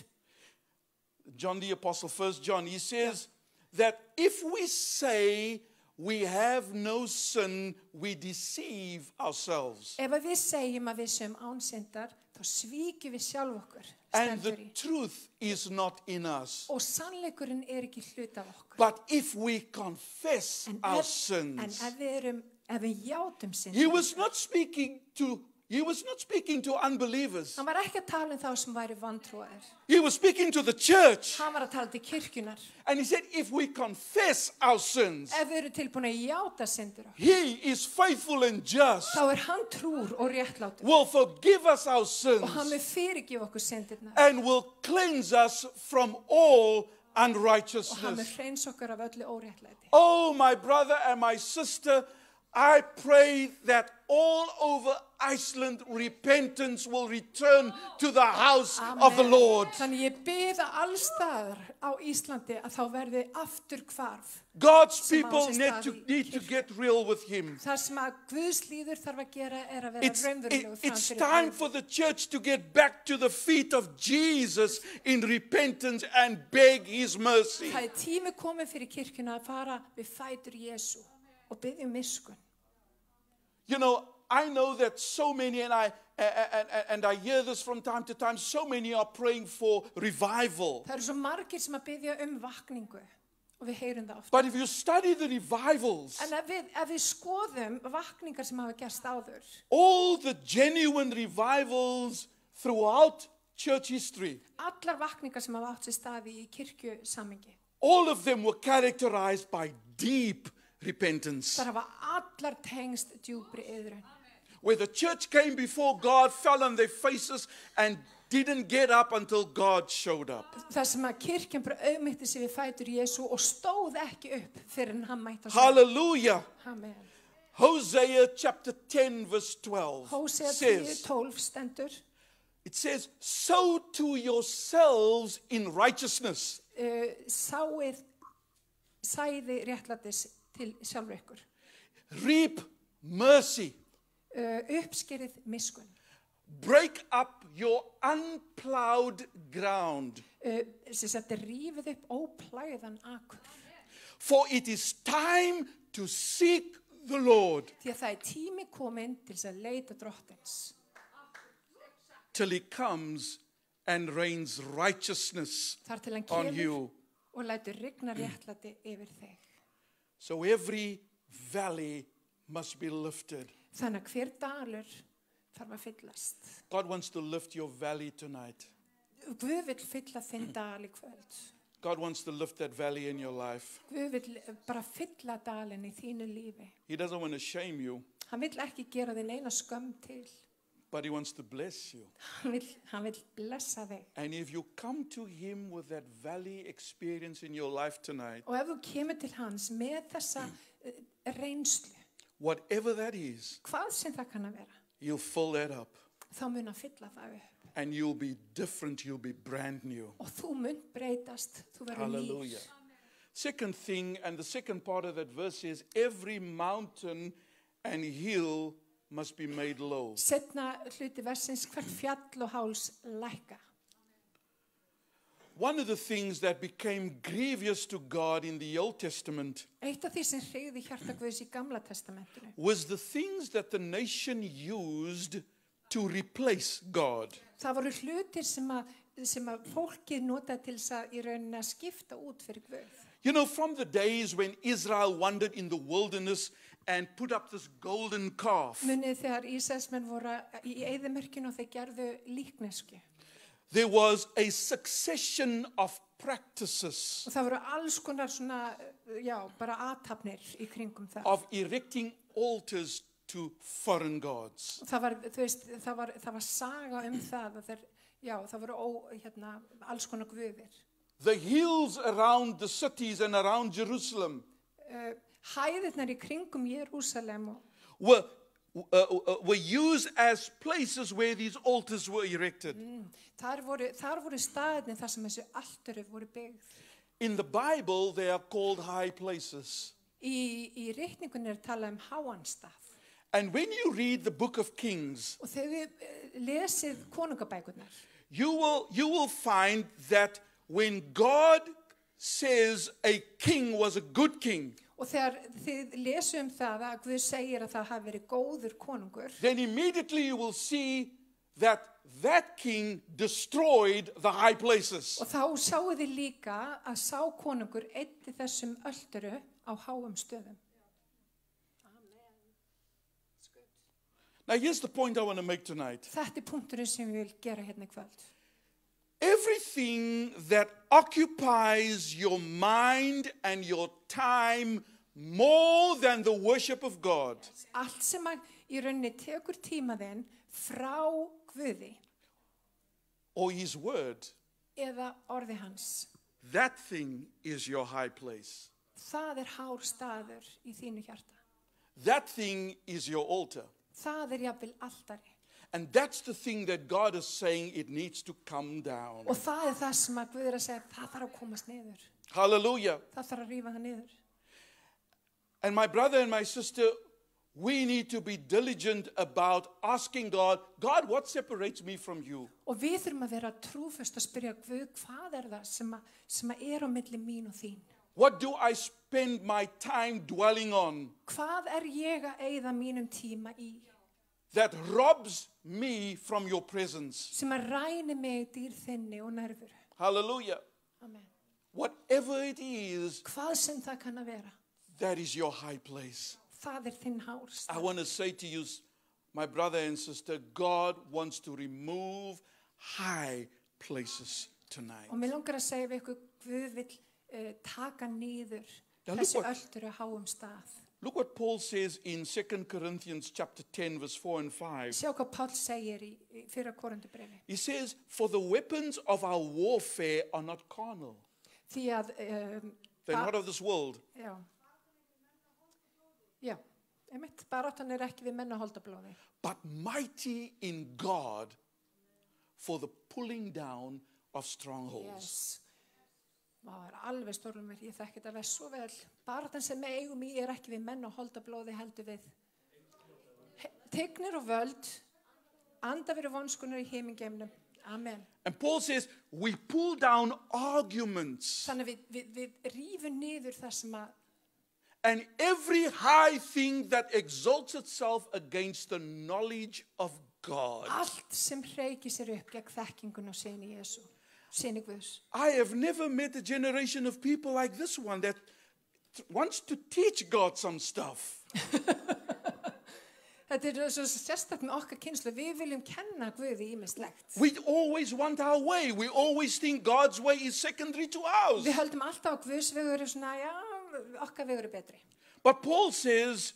Speaker 2: John the Apostle, first John, he says that if we say we have no sin, we deceive ourselves.
Speaker 1: ef að við segjum að við séum ánsindar, þá svíkjum við sjálf okkur,
Speaker 2: And the
Speaker 1: stendur í.
Speaker 2: truth is not in us.
Speaker 1: Og sannleikurinn er ekki hlut af okkur.
Speaker 2: But if we confess
Speaker 1: En
Speaker 2: our
Speaker 1: ef, en
Speaker 2: sins,
Speaker 1: ef við erum, ef við játum
Speaker 2: he
Speaker 1: sinni,
Speaker 2: was not speaking to He was not speaking to unbelievers.
Speaker 1: Hann var ekki að tala um þá sem væri vantrúaðir.
Speaker 2: He was speaking to the church.
Speaker 1: Hann var að tala til kirkjunar.
Speaker 2: And he said, if we confess our sins,
Speaker 1: Ef við erum tilbúin að játa syndir okkar,
Speaker 2: he is faithful and just,
Speaker 1: þá er hann trúr og réttlátur.
Speaker 2: will forgive us our
Speaker 1: Og hann
Speaker 2: sins,
Speaker 1: vil fyrirgifa okkur syndirna.
Speaker 2: and will cleanse us from all
Speaker 1: Og hann vil
Speaker 2: unrighteousness.
Speaker 1: hreins okkur af öllu óréttlæti.
Speaker 2: Oh, my brother and my sister, I pray that all over Iceland repentance will return to the house of the Lord.
Speaker 1: Þannig ég bið að allstaðar á Íslandi að þá verði aftur hvarf.
Speaker 2: God's
Speaker 1: Some
Speaker 2: people
Speaker 1: houses
Speaker 2: need
Speaker 1: are
Speaker 2: to,
Speaker 1: the-
Speaker 2: need to get real with Him.
Speaker 1: Það sem að Guðslýður þarf að gera er að vera
Speaker 2: It's, it-
Speaker 1: raunverulegur fram
Speaker 2: it's
Speaker 1: fyrir
Speaker 2: time
Speaker 1: Guð.
Speaker 2: for the church to get back to the feet of Jesus in repentance and beg His mercy.
Speaker 1: Það er tími komið fyrir kirkjuna að fara við fætur Jésu og byggja um miskun.
Speaker 2: You know, I know that so many, and I and, and I hear this from time to time. So many are praying for revival.
Speaker 1: Það eru svo margir sem að byggja um vakningu og við heyrum það oft.
Speaker 2: But if you study the revivals,
Speaker 1: En ef við, ef við skoðum vakningar sem hafa gerst áður,
Speaker 2: all the genuine revivals throughout church history,
Speaker 1: allar vakningar sem hafa átt sér staði í kirkjusamingi,
Speaker 2: all of them were characterized by deep repentance,
Speaker 1: þar hafa allar tengst djúbri yðrun.
Speaker 2: where the church came before God, fell on their faces, and didn't get up until God showed up.
Speaker 1: Það sem að kirkjan bara auðmyndi sig við fætur Jésu og stóð ekki upp fyrir en hann mætti á svið.
Speaker 2: Hallelujah.
Speaker 1: Amen.
Speaker 2: Hosea chapter 10, verse 12
Speaker 1: Hósea 10,
Speaker 2: says,
Speaker 1: 12 stendur.
Speaker 2: It says, Sow to yourselves in righteousness,
Speaker 1: Uh, sáið sæði réttlætis til sjálfur ykkur.
Speaker 2: reap mercy,
Speaker 1: Uh, uppskerið miskun.
Speaker 2: break up your unplowed ground,
Speaker 1: Uh, sem sagt, rífið upp óplæðan akkur.
Speaker 2: for it is time to seek the Lord
Speaker 1: Því að það er tími kominn til þess að leita drottins.
Speaker 2: till he comes and rains righteousness
Speaker 1: Þar til hann
Speaker 2: on
Speaker 1: kemur
Speaker 2: you.
Speaker 1: og lætur rigna réttlæti yfir þig.
Speaker 2: So every valley must be lifted.
Speaker 1: Þannig að hver dalur þarf að fyllast.
Speaker 2: God wants to lift your valley tonight.
Speaker 1: Guð vill fylla þinn dal í kvöld.
Speaker 2: God wants to lift that valley in your life.
Speaker 1: Guð vill bara fylla dalin í þínu lífi.
Speaker 2: He doesn't want to shame you,
Speaker 1: Hann vill ekki gera þinn eina skömm til.
Speaker 2: but He wants to bless you.
Speaker 1: Hann vill, hann vill blessa þig.
Speaker 2: And if you come to Him with that valley experience in your life tonight,
Speaker 1: Og ef þú kemur til hans með þessa eh, reynslu,
Speaker 2: whatever that is,
Speaker 1: hvað sem það kann að vera,
Speaker 2: you'll fill that up
Speaker 1: þá mun að fylla það upp.
Speaker 2: and you'll be different, you'll be brand new.
Speaker 1: Og þú mun breytast, þú verður
Speaker 2: Hallelujah.
Speaker 1: nýr.
Speaker 2: Second thing, and the second part of that verse is every mountain and hill must be made low.
Speaker 1: Setna hluti versins hvert fjall og háls lækka.
Speaker 2: One of the things that became grievous to God in the Old Testament
Speaker 1: Eitt af því sem hreyði hjarta Guðs í Gamla testamentinu
Speaker 2: was the things that the nation used to replace God.
Speaker 1: Það voru hlutir sem að, sem að fólkið notaði til þess að í rauninni að skipta út fyrir Guð.
Speaker 2: You know, from the days when Israel wandered in the wilderness and put up this golden calf,
Speaker 1: Munið þegar Ísæsmenn voru í eðimörkinu og þeir gerðu líknesku.
Speaker 2: there was a succession of practices
Speaker 1: Og það voru alls konar svona, já, bara aðtapnir í kringum það.
Speaker 2: of erecting altars to foreign gods.
Speaker 1: Það var, þú veist, það var, það var saga um það að þeir, já, það voru ó, hérna, alls konar guðir.
Speaker 2: The hills around the cities and around Jerusalem
Speaker 1: Uh, hæðirnar í kringum Jérúsalem og
Speaker 2: were, uh, uh, were used as places where these altars were erected.
Speaker 1: þar voru, þar voru staðinni þar sem þessu alltöru voru byggð.
Speaker 2: In the Bible, they are called high places.
Speaker 1: Í, í reikningunni er talað um háanstað.
Speaker 2: And when you read the book of Kings,
Speaker 1: Og þegar við eh, lesið konungabækurnar,
Speaker 2: you will, you will find that when God says a king was a good king,
Speaker 1: Og þegar þið lesum um það að Guð segir að það hafi verið góður konungur,
Speaker 2: then immediately you will see that that king destroyed the high places.
Speaker 1: og þá sáu þið líka að sá konungur eitti þessum ölluru á háum stöðum.
Speaker 2: Now, here's the point I want to make tonight.
Speaker 1: Þetta er punkturinn sem við vil gera hérna í kvöld.
Speaker 2: Everything that occupies your mind and your time more than the worship of God
Speaker 1: Allt sem að í rauninni tekur tíma þinn frá Guði
Speaker 2: or His Word,
Speaker 1: eða orði hans,
Speaker 2: that thing is your high place.
Speaker 1: það er hár staður í þínu hjarta.
Speaker 2: That thing is your altar.
Speaker 1: Það er jafnvel alltari.
Speaker 2: And that's the thing that God is saying it needs to come down.
Speaker 1: Og það er það sem að Guð er að segja, það þarf að komast niður.
Speaker 2: Hallelujah.
Speaker 1: Það þarf að rífa hann niður.
Speaker 2: And my brother and my sister, we need to be diligent about asking God, God, what separates me from you?
Speaker 1: Og við þurfum að vera trúföst að spyrja Guð, hvað er það sem að, sem að er á milli mín og þín?
Speaker 2: What do I spend my time dwelling on
Speaker 1: Hvað er ég að eigða mínum tíma í?
Speaker 2: that robs me from your presence?
Speaker 1: Sem að ræni mig dýr þinni og nervur.
Speaker 2: Hallelujah.
Speaker 1: Amen.
Speaker 2: Whatever it is,
Speaker 1: Hvað sem það kann að vera,
Speaker 2: that is your high place.
Speaker 1: það er þinn hár.
Speaker 2: I want to say to you, my brother and sister, God wants to remove high places tonight.
Speaker 1: Og mér langar að segja við ykkur, Guð vil uh, taka nýður
Speaker 2: Já,
Speaker 1: þessi
Speaker 2: look what-
Speaker 1: öldur að háum stað.
Speaker 2: Look what Paul says in 2 Corinthians chapter 10 verse 4 and 5.
Speaker 1: Sjá hvað Páll segir í, í fyrra korundubrifi.
Speaker 2: He says, "For the weapons of our warfare are not carnal.
Speaker 1: Því að, um,
Speaker 2: They're
Speaker 1: ba-
Speaker 2: not of this world,
Speaker 1: já, já, einmitt, baráttan er ekki við menna holdablóði.
Speaker 2: but mighty in God for the pulling down of strongholds."
Speaker 1: Yes. Það er alveg stórlumir, ég þekki þetta verð svo vel. Baráttan sem við eigum í er ekki við menna holdablóði heldur við. He- Tignir og völd, anda verið vonskunar í heimingeimnum. Amen.
Speaker 2: And Paul says, "We pull down arguments
Speaker 1: Þannig að við, við, við rífum niður það sem að
Speaker 2: and every high thing that exalts itself against the knowledge of God."
Speaker 1: allt sem hreiki sér upp gegn þekkingun og sinni Jésu, sinni Guðs.
Speaker 2: I have never met a generation of people like this one that t- wants to teach God some stuff.
Speaker 1: Þetta er svo sérstakt með okkar kynslu. Við viljum kenna Guði ímislegt.
Speaker 2: We always want our way. We always think God's way is secondary to ours.
Speaker 1: Við höldum alltaf að Guðs vegur er svona, já, okkar vegur er betri.
Speaker 2: But Paul says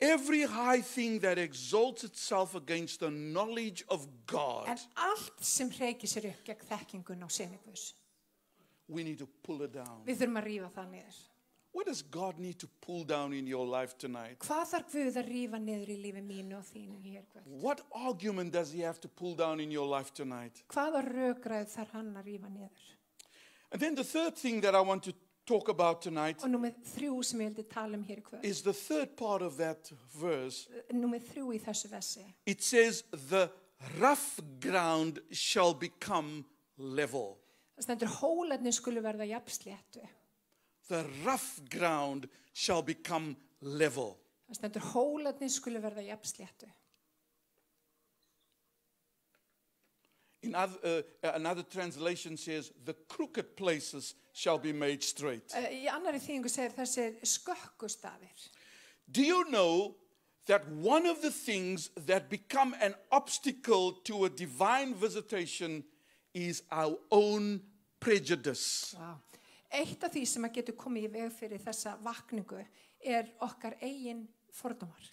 Speaker 2: every high thing that exalts itself against the knowledge of God,
Speaker 1: En allt sem hreiki sér upp gegn þekkingun og sinni Guðs,
Speaker 2: we need to pull it down.
Speaker 1: við þurfum að rífa það niður.
Speaker 2: What does God need to pull down in your life tonight?
Speaker 1: Hvað þarf Guð að rífa niður í lífi mínu og þínu hér, Guð?
Speaker 2: What argument does he have to pull down in your life tonight?
Speaker 1: Hvaða rökræð þarf hann að rífa niður?
Speaker 2: And then the third thing that I want to talk about tonight
Speaker 1: Og númið þrjú sem ég vildi tala um hér í kvöld.
Speaker 2: is the third part of that verse.
Speaker 1: Númið þrjú í þessu vessi.
Speaker 2: It says, The rough ground shall become level.
Speaker 1: Það stendur hólarnir skulu verða jafnsléttu.
Speaker 2: The rough ground shall become level.
Speaker 1: Það stendur hólarnir skulu verða jafnsléttu.
Speaker 2: In other, uh, another translation says, The crooked places shall be made straight.
Speaker 1: Eh, Í annari þýðingu segir þessir skökkustafir.
Speaker 2: Do you know that one of the things that become an obstacle to a divine visitation is our own prejudice?
Speaker 1: Wow. Eitt af því sem að getur komið í veg fyrir þessa vakningu er okkar eigin fordómar.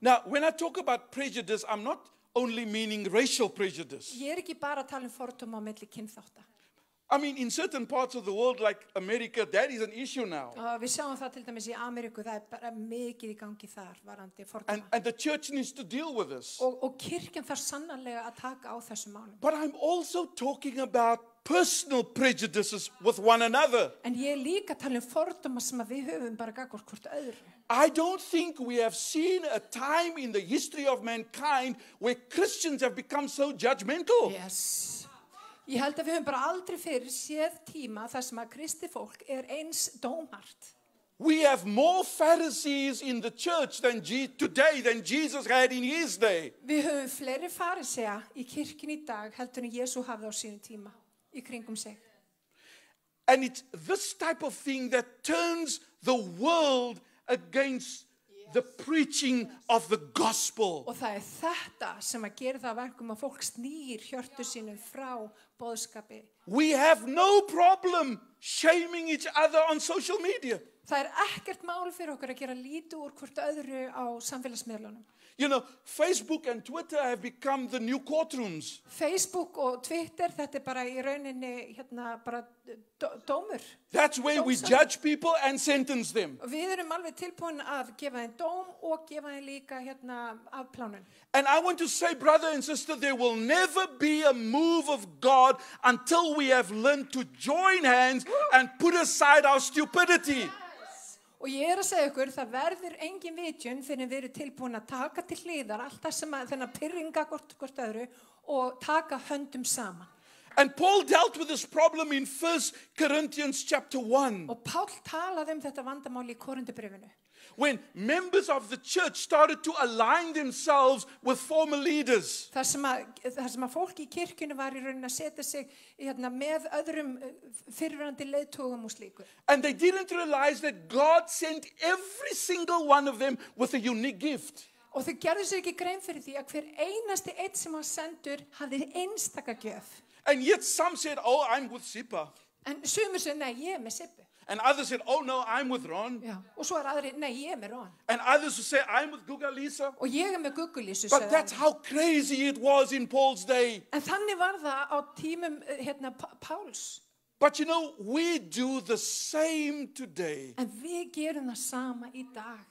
Speaker 2: Now, when I talk about prejudice, I'm not only meaning racial prejudice.
Speaker 1: Ég er ekki bara að tala um fordóma á milli kynþátta.
Speaker 2: I mean, in certain parts of the world, like America, that is an issue now.
Speaker 1: Og við sjáum það til dæmis í Ameríku, það er bara mikið í gangi þar varandi
Speaker 2: And,
Speaker 1: fordóma.
Speaker 2: and the church needs to deal with this.
Speaker 1: Og, og kirkjan þarf sannanlega að taka á þessum málum.
Speaker 2: But I'm also talking about personal prejudices with one another.
Speaker 1: En ég er líka að tala um fordóma sem að við höfum bara gagvart hvort öðru.
Speaker 2: I don't think we have seen a time in the history of mankind where Christians have become so judgmental.
Speaker 1: Yes. Ég held að við höfum bara aldrei fyrir séð tíma þar sem að kristi fólk er eins dómart.
Speaker 2: We have more Pharisees in the church than Je- today than Jesus had in his day.
Speaker 1: Við höfum fleiri farisea í kirkjun í dag heldur en Jésu hafði á sínum tíma í kringum sig.
Speaker 2: And it's this type of thing that turns the world against the preaching of the gospel.
Speaker 1: Og það er þetta sem að gera það að verkum að fólk snýr hjörtu sínum frá boðskapi.
Speaker 2: We have no problem shaming each other on social media.
Speaker 1: Það er ekkert mál fyrir okkur að gera lítið úr hvort öðru á samfélagsmiðlunum.
Speaker 2: You know, Facebook and Twitter have become the new courtrooms.
Speaker 1: Facebook og Twitter, þetta er bara í rauninni hérna bara dó- dómur.
Speaker 2: That's where we judge people and sentence them.
Speaker 1: Og við erum alveg tilbúin að gefa þeim dóm og gefa þeim líka hérna afplánun.
Speaker 2: And I want to say, brother and sister, there will never be a move of God until we have learned to join hands and put aside our stupidity.
Speaker 1: Og ég er að segja ykkur, það verður engin vitjun fyrir við erum tilbúin að taka til hliðar allt það sem að þennan pyrringa hvort, hvort öðru og taka höndum saman.
Speaker 2: And Paul dealt with this problem in 1 Corinthians chapter 1
Speaker 1: Og Pál talaði um þetta vandamál í korundubrifinu.
Speaker 2: when members of the church started to align themselves with former leaders.
Speaker 1: Þar sem, að, þar sem að fólk í kirkjunu var í raunin að setja sig hérna, með öðrum fyrirverandi leiðtogum og slíku.
Speaker 2: And they didn't realize that God sent every single one of them with a unique gift.
Speaker 1: Og þau gerðu sér ekki grein fyrir því að hver einasti eitt sem hann sendur hafði einstaka gjöf.
Speaker 2: And yet some said, Oh, I'm with Sipa.
Speaker 1: En sumur sem, nei, ég er með Sippu.
Speaker 2: And others said, Oh, no, I'm with Ron.
Speaker 1: Já. Og svo er aðri, nei, ég er með Rón.
Speaker 2: And others who say, I'm with Guga Lisa.
Speaker 1: Og ég er með Guggulísu,
Speaker 2: But
Speaker 1: sagði hann.
Speaker 2: that's how crazy it was in Paul's day.
Speaker 1: En þannig var það á tímum eh, hérna, P- Páls.
Speaker 2: But you know, we do the same today.
Speaker 1: En við gerum það sama í dag.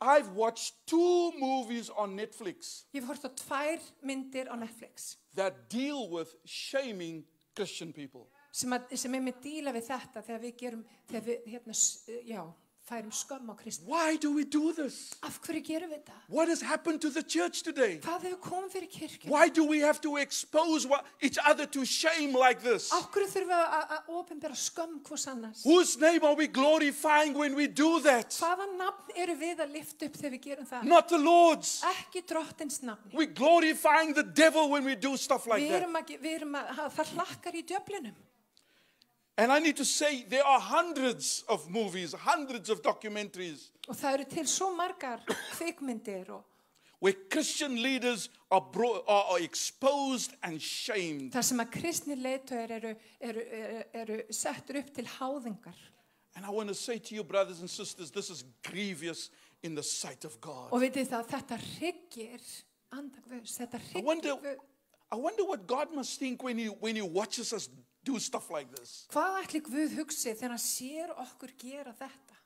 Speaker 2: I've watched two movies on Netflix
Speaker 1: Ég hef hort á tvær myndir á Netflix
Speaker 2: that deal with shaming Christian people.
Speaker 1: sem, að, sem er með díla við þetta þegar við gerum, þegar við, hérna, s- eh, já, færum skömm á Kristi.
Speaker 2: Why do we do this?
Speaker 1: Af hverju gerum við það?
Speaker 2: What has happened to the church today?
Speaker 1: Hvað hefur komið fyrir kirkjum?
Speaker 2: Why do we have to expose wha- each other to shame like this?
Speaker 1: Af hverju þurfum við að- að- að ofinbera skömm hvors annars?
Speaker 2: Whose name are we glorifying when we do that?
Speaker 1: Hvaða nafn eru við að lifta upp þegar við gerum það?
Speaker 2: Not the Lord's.
Speaker 1: Ekki drottins nafni.
Speaker 2: We're glorifying the devil when we do stuff like
Speaker 1: Við
Speaker 2: that.
Speaker 1: erum að, ge- við erum að, að það hlakkar í djöflinum.
Speaker 2: And I need to say, there are hundreds of movies, hundreds of documentaries
Speaker 1: Og það eru til svo margar kvikmyndir og
Speaker 2: where Christian leaders are, bro- are, are exposed and shamed.
Speaker 1: þar sem að kristni leitöður eru, eru, eru, eru settur upp til háðingar.
Speaker 2: And I want to say to you, brothers and sisters, this is grievous in the sight of God.
Speaker 1: Og vitið það, þetta hryggir andagvöðs, þetta
Speaker 2: I
Speaker 1: hryggir
Speaker 2: wonder,
Speaker 1: guð.
Speaker 2: I wonder what God must think when he, when he watches us do stuff like this.
Speaker 1: Hvað ætli Guð hugsið þegar hann sér okkur gera þetta?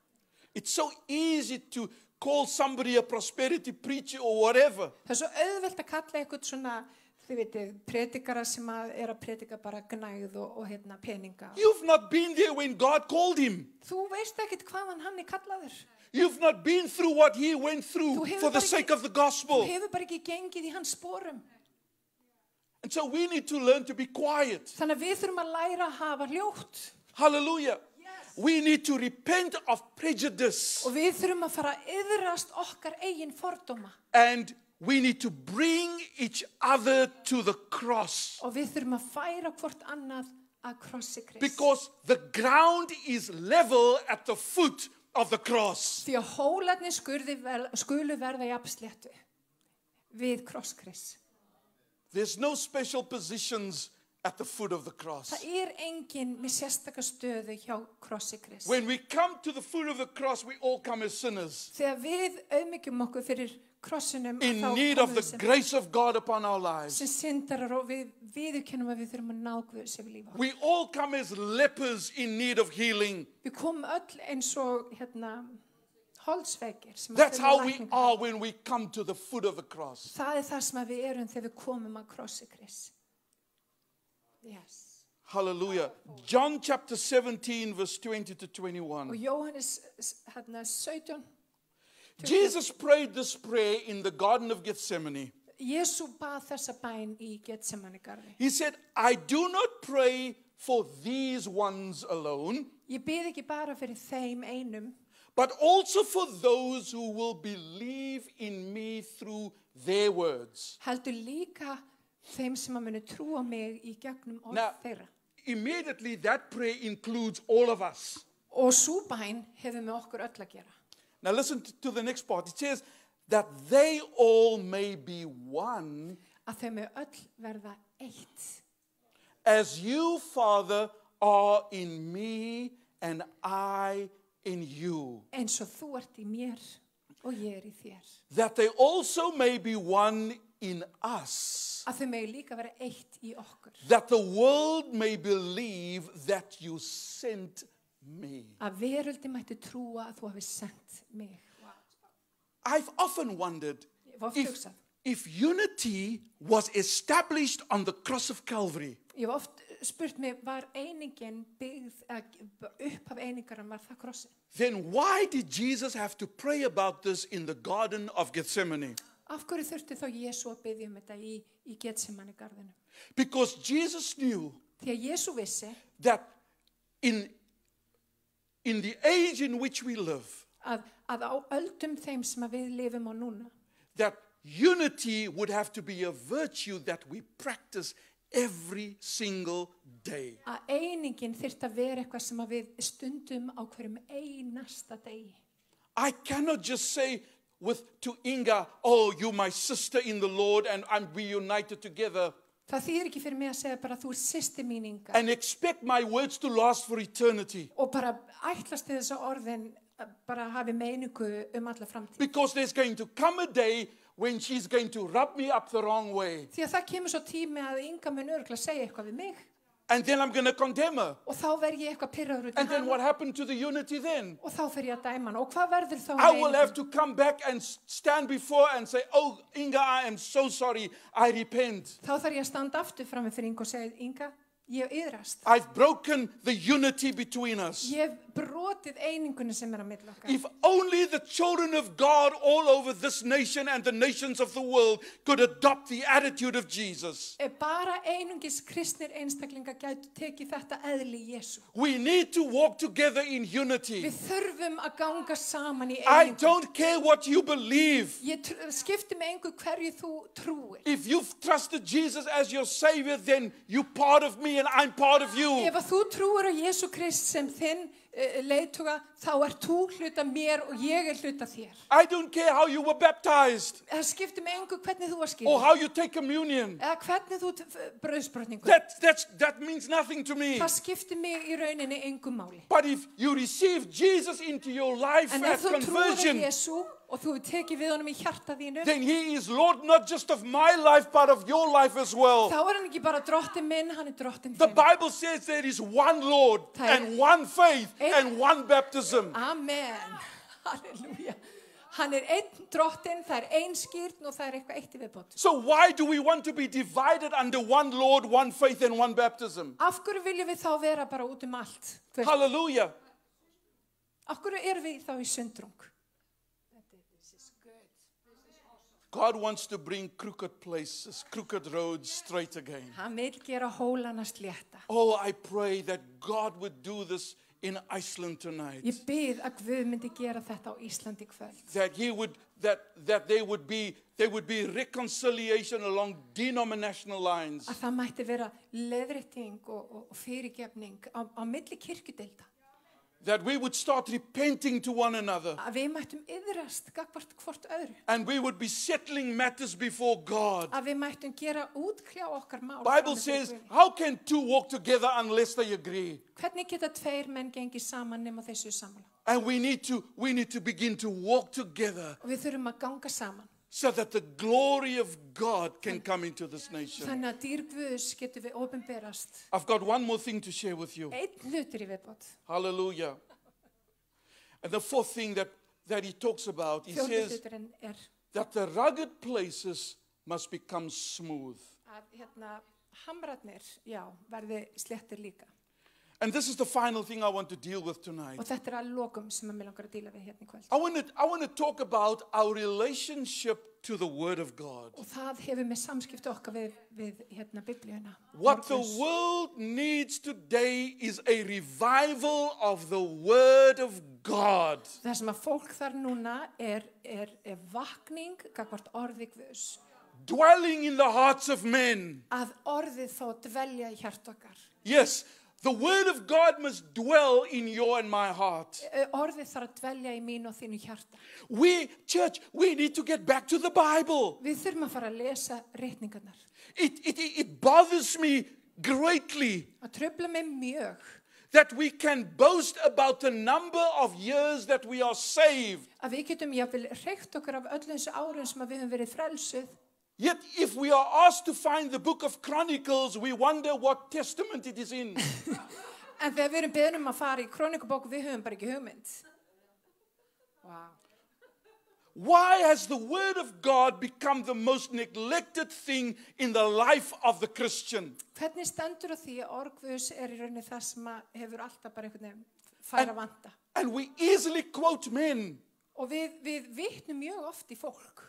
Speaker 2: It's so easy to call somebody a prosperity preacher or whatever.
Speaker 1: Það er svo auðvelt að kalla eitthvað svona, þið vitið, predikara sem að er að predika bara gnæð og, og hérna peninga.
Speaker 2: You've not been there when God called him.
Speaker 1: Þú veist ekkit hvaðan hann er kallaður.
Speaker 2: You've not been through what he went through
Speaker 1: Þú hefur
Speaker 2: for the
Speaker 1: bara
Speaker 2: sake
Speaker 1: ekki-
Speaker 2: of the
Speaker 1: Þú
Speaker 2: gospel.
Speaker 1: hefur bara ekki gengið í hans spórum.
Speaker 2: And so we need to learn to be quiet.
Speaker 1: Þannig að við þurfum að læra að hafa hljótt.
Speaker 2: Hallelujah. We need to repent of prejudice
Speaker 1: Og við þurfum að fara að yðrast okkar eigin fordóma
Speaker 2: and we need to bring each other to the cross
Speaker 1: og við þurfum að færa hvort annað að krossi krist.
Speaker 2: because the ground is level at the foot of the cross.
Speaker 1: Því að hólarnir skurði vel, skulu verða í absléttu við krosskris.
Speaker 2: There's no special positions at the foot of the cross.
Speaker 1: Það er enginn með sérstaka stöðu hjá krossi krist.
Speaker 2: When we come to the foot of the cross, we all come as sinners
Speaker 1: Þegar við auðmyggjum okkur fyrir krossinum
Speaker 2: in
Speaker 1: þá
Speaker 2: need
Speaker 1: komum
Speaker 2: of
Speaker 1: við
Speaker 2: the
Speaker 1: sem,
Speaker 2: grace of God upon our lives.
Speaker 1: sem syndarar og við viðurkennum að við þurfum að nákvæðu sem við lífa.
Speaker 2: We all come as lepers in need of healing.
Speaker 1: Við komum öll eins og hérna, holsveikir. sem að
Speaker 2: That's
Speaker 1: þurfa
Speaker 2: how we
Speaker 1: lækningar.
Speaker 2: are when we come to the foot of the cross.
Speaker 1: Það er það sem að við erum þegar við komum að krossi Kris. Yes.
Speaker 2: Hallelujah. John chapter 17, verse 20 to
Speaker 1: Og
Speaker 2: 21.
Speaker 1: Jóhannes s- hérna, 17,
Speaker 2: Jesus prayed this prayer in the Garden of Gethsemane.
Speaker 1: Jésu bað þessa bæn í Getsemanegarði.
Speaker 2: He said, I do not pray for these ones alone,
Speaker 1: Ég bið ekki bara fyrir þeim einum,
Speaker 2: but also for those who will believe in me through their words.
Speaker 1: heldur líka þeim sem að munu trúa mig í gegnum orð
Speaker 2: Now-
Speaker 1: þeirra.
Speaker 2: Immediately, that prayer includes all of us.
Speaker 1: Og sú bæn hefur með okkur öll að gera.
Speaker 2: Now listen t- to the next part. It says that they all may be one
Speaker 1: að þau með öll verða eitt
Speaker 2: as you, Father, are in me and I in you.
Speaker 1: eins og þú ert í mér og ég er í þér.
Speaker 2: That they also may be one in us.
Speaker 1: Að þau megi líka vera eitt í okkur.
Speaker 2: That the world may believe that you sent me.
Speaker 1: Að veröldi mætti trúa að þú hafi sendt mig.
Speaker 2: I've often wondered
Speaker 1: Ég hef oft
Speaker 2: if,
Speaker 1: hugsað.
Speaker 2: if unity was established on the cross of Calvary,
Speaker 1: Ég hef oft spurt mig, var einingin byggð, eða upp af einingaran var það krossin?
Speaker 2: then why did Jesus have to pray about this in the Garden of Gethsemane?
Speaker 1: Af hverju þurfti þá Jésu að byggja um þetta í, í getsemanni garðinu?
Speaker 2: Because Jesus knew
Speaker 1: Því að Jésu vissi
Speaker 2: that in, in the age in which we live,
Speaker 1: að, að á öldum þeim sem að við lifum á núna,
Speaker 2: that unity would have to be a virtue that we practice every single day.
Speaker 1: að einingin þyrfti að vera eitthvað sem að við stundum á hverjum einasta degi.
Speaker 2: I cannot just say with to Inga, "Oh, you my sister in the Lord and I'm we united together."
Speaker 1: Það þýðir ekki fyrir mig að segja bara þú er sýsti míninga
Speaker 2: And expect my words to last for eternity
Speaker 1: og bara ætlast til þess að orðin eh, bara hafi meiningu um alla framtíð.
Speaker 2: because there's going to come a day when she's going to rub me up the wrong way
Speaker 1: Því að það kemur svo tími að Inga mun örgulega segja eitthvað við mig
Speaker 2: and then I'm going to condemn her.
Speaker 1: og þá verð ég eitthvað pyrraður út í
Speaker 2: And then
Speaker 1: hana
Speaker 2: what happened to the unity then?
Speaker 1: og þá fer ég að dæma hana og hvað verður þá um
Speaker 2: I will
Speaker 1: eininguna?
Speaker 2: have to come back and s- stand before and say, Oh, Inga, I am so sorry. I repent.
Speaker 1: Þá þarf ég að standa aftur fram með fyrir Inga og segja Inga, ég yðrast.
Speaker 2: I've broken the unity between us.
Speaker 1: Ég hef brotið einingunni sem er að milla okkar.
Speaker 2: If only the children of God all over this nation and the nations of the world could adopt the attitude of Jesus.
Speaker 1: Ef bara einungis kristnir einstaklinga gætu tekið þetta eðli Jésu.
Speaker 2: We need to walk together in unity.
Speaker 1: Við þurfum að ganga saman í
Speaker 2: I
Speaker 1: einingu.
Speaker 2: don't care what you believe.
Speaker 1: Ég tr- skipti með engu hverju þú trúir.
Speaker 2: If you've trusted Jesus as your Savior, then you're part of me and I'm part of you.
Speaker 1: Ef að þú trúir á Jésu Krist sem þinn uh, leituga, þá er þú hluta mér og ég er hluta þér.
Speaker 2: I don't care how you were baptized
Speaker 1: Það skipti með engu hvernig þú var
Speaker 2: or
Speaker 1: skilur.
Speaker 2: how you take communion.
Speaker 1: Eða hvernig þú bröðsbrotningu.
Speaker 2: That, that's, that means nothing to me.
Speaker 1: Það skipti mig í rauninni engu máli.
Speaker 2: But if you receive Jesus into your life
Speaker 1: En
Speaker 2: at
Speaker 1: ef þú trúir á
Speaker 2: conversion,
Speaker 1: Jésu og þú hefur tekið við honum í hjarta þínu,
Speaker 2: then He is Lord not just of my life, but of your life as well.
Speaker 1: þá er hann ekki bara drottin minn, hann er drottin
Speaker 2: The
Speaker 1: þinn.
Speaker 2: Bible says there is one Lord
Speaker 1: Tha-
Speaker 2: and one faith
Speaker 1: It-
Speaker 2: and one baptism.
Speaker 1: Amen. <laughs> Halleluja. Hann er einn drottin, það er einn skýrn og það er eitthvað eitt í viðbót.
Speaker 2: So why do we want to be divided under one Lord, one faith, and one baptism?
Speaker 1: Af hverju viljum við þá vera bara út um allt? Þú veist,
Speaker 2: Hallelujah.
Speaker 1: Af hverju erum við þá í sundrung?
Speaker 2: God wants to bring crooked places, crooked roads straight again.
Speaker 1: Hann vil gera hólana slétta.
Speaker 2: Oh, I pray that God would do this in Iceland tonight.
Speaker 1: Ég byrð að Guð myndi gera þetta á Íslandi í kvöld.
Speaker 2: that he would that that they would be there would be reconciliation along denominational lines
Speaker 1: Að það mætti vera leðrétting og, og, og fyrirgefning á, á milli kirkjudelda.
Speaker 2: that we would start repenting to one another
Speaker 1: Að við mættum yðrast gagvart hvort öðru.
Speaker 2: and we would be settling matters before god
Speaker 1: Að við mættum gera útkljá okkar mál.
Speaker 2: bible
Speaker 1: frammi fyrir
Speaker 2: says
Speaker 1: Guði.
Speaker 2: how can two walk together unless they agree
Speaker 1: Hvernig geta tveir menn gengið saman nema þessu saman?
Speaker 2: and we need to we need to begin to walk together
Speaker 1: Og við þurfum að ganga saman.
Speaker 2: so that the glory of god can come into this nation
Speaker 1: Þannig að dýr Guðs getum við ofinberast.
Speaker 2: i've got one more thing to share with you
Speaker 1: Einn hlutur í viðbót.
Speaker 2: hallelujah and the fourth thing that that he talks about he
Speaker 1: Fjórði
Speaker 2: says
Speaker 1: hluturinn er
Speaker 2: that the rugged places must become smooth.
Speaker 1: að hérna, hamrarnir, já, verði slettir líka.
Speaker 2: And this is the final thing I want to deal with
Speaker 1: Og
Speaker 2: tonight.
Speaker 1: þetta er að lokum sem að mér langar að díla við hérna í kvöld.
Speaker 2: I want to, I want to talk about our relationship to the Word of God.
Speaker 1: Og það hefur með samskipti okkar við, við hérna, biblíuna.
Speaker 2: What the
Speaker 1: Morguns.
Speaker 2: world needs today is a revival of the Word of God.
Speaker 1: Það sem að fólk þar núna er, er, er vakning, gagvart orði Guðs,
Speaker 2: Dwelling in the hearts of men.
Speaker 1: að orðið þó dvelja í hjart okkar.
Speaker 2: Yes, The word of God must dwell in your and my heart.
Speaker 1: Ö, Orðið þarf að dvelja í mín og þínu hjarta.
Speaker 2: We, church, we need to get back to the Bible.
Speaker 1: Við þurfum að fara að lesa reitningarnar.
Speaker 2: It, it, it it bothers me greatly
Speaker 1: Að tröfla mig mjög
Speaker 2: that we can boast about the number of years that we are saved.
Speaker 1: að við getum jáfnvel reykt okkur af öll þessu árum sem að við höfum verið frelsuð.
Speaker 2: Yet, if we are asked to find the book of Chronicles, we wonder what testament it is in.
Speaker 1: En þegar við erum beðnum að fara í krónikubók, við höfum bara ekki hugmynd.
Speaker 2: Why has the word of God become the most neglected thing in the life of the Christian?
Speaker 1: Hvernig stendur á því að orgvus er í rauninni það sem að hefur alltaf bara einhvern veginn færa vanda?
Speaker 2: And we easily quote men,
Speaker 1: Og við, við vitnum mjög oft í fólk,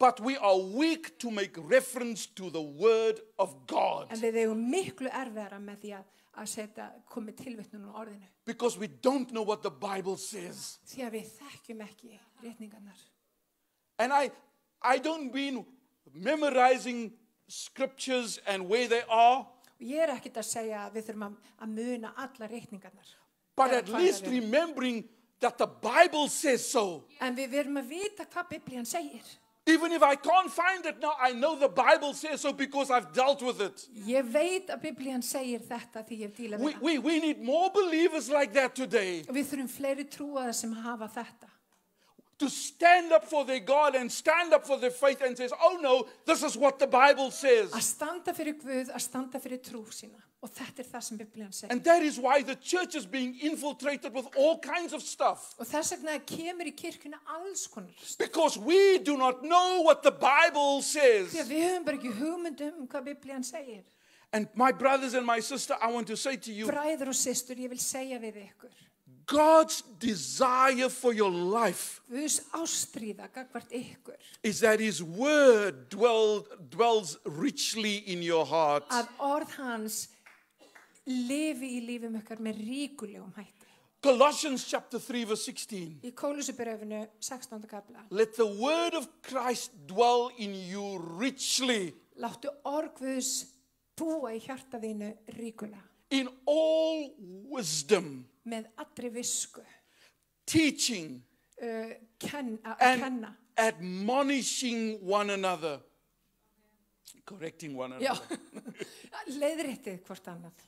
Speaker 2: but we are weak to make reference to the word of
Speaker 1: en
Speaker 2: God
Speaker 1: við eigum miklu erfiðara með því að, að setja, komið tilvitnum á orðinu.
Speaker 2: because we don't know what the Bible says.
Speaker 1: Því að við þekkjum ekki rétningarnar.
Speaker 2: And I, I don't mean memorizing scriptures and where they are,
Speaker 1: Og ég er ekkit að segja að við þurfum að, að muna alla rétningarnar.
Speaker 2: but
Speaker 1: Eða
Speaker 2: at
Speaker 1: hvað
Speaker 2: least
Speaker 1: það er.
Speaker 2: remembering that the Bible says so.
Speaker 1: En við verum að vita hvað biblían segir.
Speaker 2: Even if I can't find it now, I know the Bible says so because I've dealt with it.
Speaker 1: Ég veit að biblían segir þetta því ég hef díla
Speaker 2: We,
Speaker 1: við það.
Speaker 2: we, we need more believers like that today
Speaker 1: Og Við þurfum fleiri trúaðar sem hafa þetta.
Speaker 2: to stand up for their God and stand up for their faith and says, oh no, this is what the Bible
Speaker 1: Að
Speaker 2: says.
Speaker 1: standa fyrir Guð, að standa fyrir trú sína. Og þetta er það sem biblían segir.
Speaker 2: And that is why the church is being infiltrated with all kinds of stuff.
Speaker 1: Og þess vegna kemur í kirkuna alls konar. Því
Speaker 2: Because we do not know what the Bible
Speaker 1: að
Speaker 2: says.
Speaker 1: við höfum bara ekki hugmynd um hvað biblían segir.
Speaker 2: And my brothers and my sister, I want to say to you,
Speaker 1: Bræður og systur, ég vil segja við ykkur.
Speaker 2: God's desire for your life
Speaker 1: Guðs ástríða gagvart ykkur.
Speaker 2: is that His word dwell, dwells richly in your heart.
Speaker 1: Að orð hans lifi í lífum ykkar með ríkulegum hætti.
Speaker 2: Colossians chapter 3, verse 16.
Speaker 1: Í Kólusubröfinu 16. kapla.
Speaker 2: Let the word of Christ dwell in you richly
Speaker 1: Láttu orgvus búa í hjarta þínu ríkula
Speaker 2: in all wisdom,
Speaker 1: með allri visku
Speaker 2: teaching
Speaker 1: uh, ken, að
Speaker 2: and
Speaker 1: kenna
Speaker 2: admonishing one another, correcting one
Speaker 1: Já, <laughs>
Speaker 2: another
Speaker 1: leiðréttið hvort annað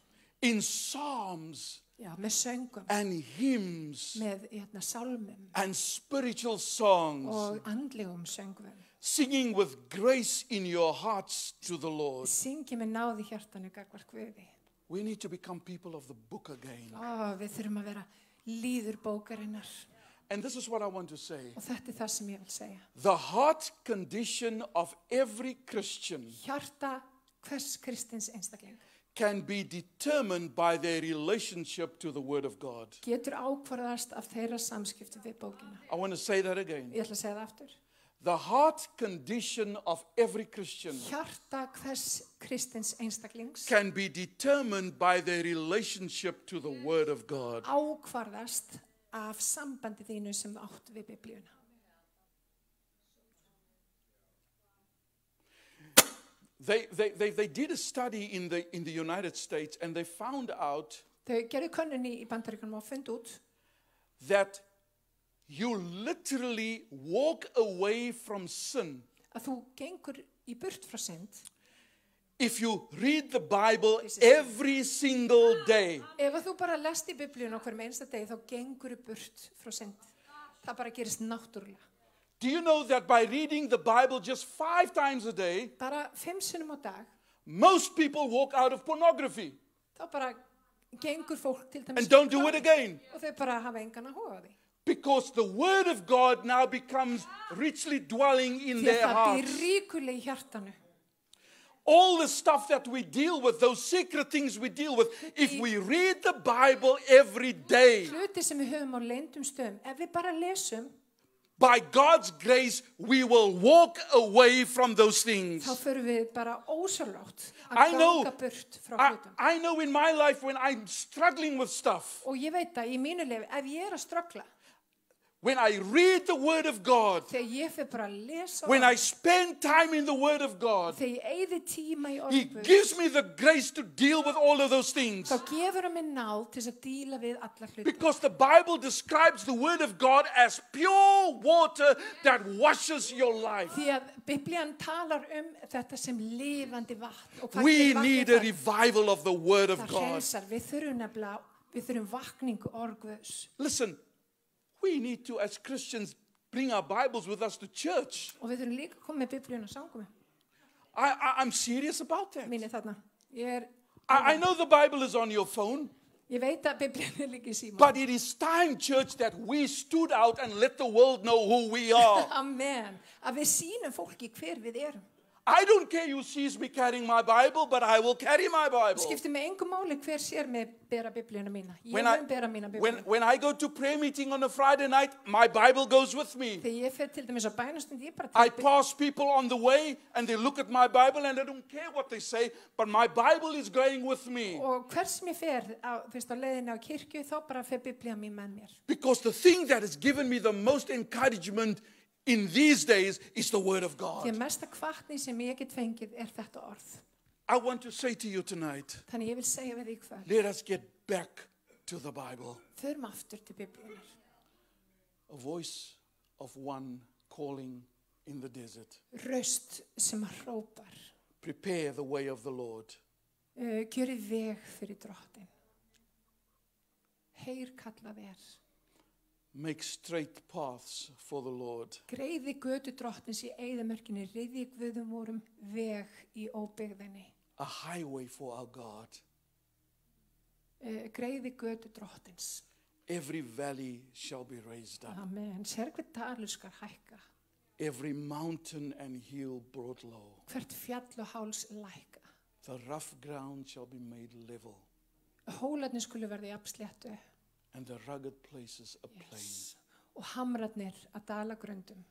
Speaker 2: in psalms
Speaker 1: Já, með söngum,
Speaker 2: and hymns
Speaker 1: með hérna, sálmum
Speaker 2: and spiritual songs,
Speaker 1: og andlegum söngum
Speaker 2: singing with grace in your hearts to the Lord.
Speaker 1: Syngi með náði hjartanu gagvart Guði
Speaker 2: We need to become people of the book again.
Speaker 1: Ó, við þurfum að vera líður bókarinnar
Speaker 2: And this is what I want to say.
Speaker 1: og þetta er það sem ég vil segja
Speaker 2: The heart condition of every Christian
Speaker 1: Hjarta hvers kristins einstakling
Speaker 2: can be determined by their relationship to the Word of God.
Speaker 1: getur ákvarðast af þeirra samskipti við bókina
Speaker 2: I want to say that again.
Speaker 1: Ég ætla að segja það aftur
Speaker 2: The heart condition of every Christian
Speaker 1: Hjarta hvers kristins einstaklings
Speaker 2: can be determined by their relationship to the Word of God.
Speaker 1: ákvarðast af sambandi þínu sem þú átt við biblíuna.
Speaker 2: They, they, they, they did a study in the, in the United States and they found out
Speaker 1: Þau gerðu könnunni í bandaríkanum og fundu út
Speaker 2: that you literally walk away from sin
Speaker 1: að þú gengur í burt frá synd
Speaker 2: if you read the Bible every single day.
Speaker 1: ef að þú bara lest í biblíuna okkur með einsta degi þá gengur í burt frá synd. Það bara gerist náttúrulega.
Speaker 2: Do you know that by reading the Bible just five times a day,
Speaker 1: Bara fimm sinnum á dag
Speaker 2: most people walk out of pornography
Speaker 1: þá bara gengur fólk til dæmis
Speaker 2: and don't do it again?
Speaker 1: og þau bara hafa engan að hóa því.
Speaker 2: Because the Word of God now becomes richly dwelling in
Speaker 1: Því að
Speaker 2: their
Speaker 1: það býr
Speaker 2: hearts.
Speaker 1: ríkuleg í hjartanu.
Speaker 2: All the stuff that we deal with, those secret things we deal with, if we read the Bible every day,
Speaker 1: Hluti sem við höfum á leyndum stöðum, ef við bara lesum
Speaker 2: by God's grace, we will walk away from those
Speaker 1: þá
Speaker 2: things.
Speaker 1: förum við bara ósjálfrátt
Speaker 2: I
Speaker 1: að
Speaker 2: know.
Speaker 1: ganga burt frá
Speaker 2: I,
Speaker 1: hlutum.
Speaker 2: I know in my life when I'm struggling with stuff,
Speaker 1: Og ég veit að í mínu lefi, ef ég er að ströggla,
Speaker 2: when I read the Word of God,
Speaker 1: Þegar ég fyrir bara að lesa
Speaker 2: when I
Speaker 1: orðið,
Speaker 2: spend time in the Word of God,
Speaker 1: þegar ég eigði tíma í
Speaker 2: He
Speaker 1: orðböð,
Speaker 2: gives me the grace to deal with all of those things.
Speaker 1: þá gefur hann mér náð til þess að díla við alla hluti.
Speaker 2: Because the Bible describes the Word of God as pure water that washes your life.
Speaker 1: Því að Biblian talar um þetta sem lifandi vatn og hvað
Speaker 2: We
Speaker 1: gerir
Speaker 2: need
Speaker 1: vatnið
Speaker 2: a
Speaker 1: það?
Speaker 2: revival of the Word of
Speaker 1: Það
Speaker 2: God.
Speaker 1: hreinsar, við þurfum nefnilega, við þurfum vakningu orguðs.
Speaker 2: Listen, we need to, as Christians, bring our Bibles with us to church.
Speaker 1: Og við þurfum líka að koma með Biblíuna sangum.
Speaker 2: I, I, I'm serious about that.
Speaker 1: Minni þarna. Ég, er,
Speaker 2: I, I know the Bible is on your phone,
Speaker 1: ég veit að Biblíun er líka í síma.
Speaker 2: but it is time, church, that we stood out and let the world know who we
Speaker 1: <laughs>
Speaker 2: are.
Speaker 1: Amen. Að við sínum fólki hver við erum.
Speaker 2: I don't care who sees me carrying my Bible, but I will carry my Bible.
Speaker 1: Skiptir með engum máli hver sér með bera Biblíuna mína. Ég
Speaker 2: When I,
Speaker 1: mun bera mína
Speaker 2: when,
Speaker 1: Biblíuna.
Speaker 2: when I go to prayer meeting on a Friday night, my Bible goes with me.
Speaker 1: Þegar ég fer til dæmis á bænastund, ég bara
Speaker 2: I
Speaker 1: tek Biblíuna.
Speaker 2: pass people on the way and they look at my Bible and I don't care what they say, but my Bible is going with me.
Speaker 1: Og hvers sem ég fer á, þú veist, á leiðinni á kirkju, þá bara fer Biblíuna mín með mér.
Speaker 2: Because the thing that has given me the most encouragement in these days is the Word of
Speaker 1: Því
Speaker 2: God.
Speaker 1: að mesta kvartni sem ég get fengið er þetta orð.
Speaker 2: I want to say to you tonight
Speaker 1: Þannig ég vil segja við því hvað.
Speaker 2: let us get back to the Bible.
Speaker 1: Förum aftur til Biblíunar.
Speaker 2: A voice of one calling in the desert.
Speaker 1: Röst sem að hrópar.
Speaker 2: Prepare the way of the Lord.
Speaker 1: Uh, Gjörið veg fyrir drottin. Heyr kallað er.
Speaker 2: Make straight paths for the Lord.
Speaker 1: Greiði götu drottins í eigðamörkinni, reyði guðum vorum veg í óbyggðinni.
Speaker 2: a highway for our God.
Speaker 1: Uh, greiði götu drottins.
Speaker 2: Every valley shall be raised up,
Speaker 1: Amen. Sér hver dalur skal hækka,
Speaker 2: every mountain and hill brought low.
Speaker 1: hvert fjall og háls lækka.
Speaker 2: The rough ground shall be made level,
Speaker 1: Hólarnir skulu verði apsléttu
Speaker 2: and the rugged places a plain.
Speaker 1: yes. og hamrarnir að dala gröndum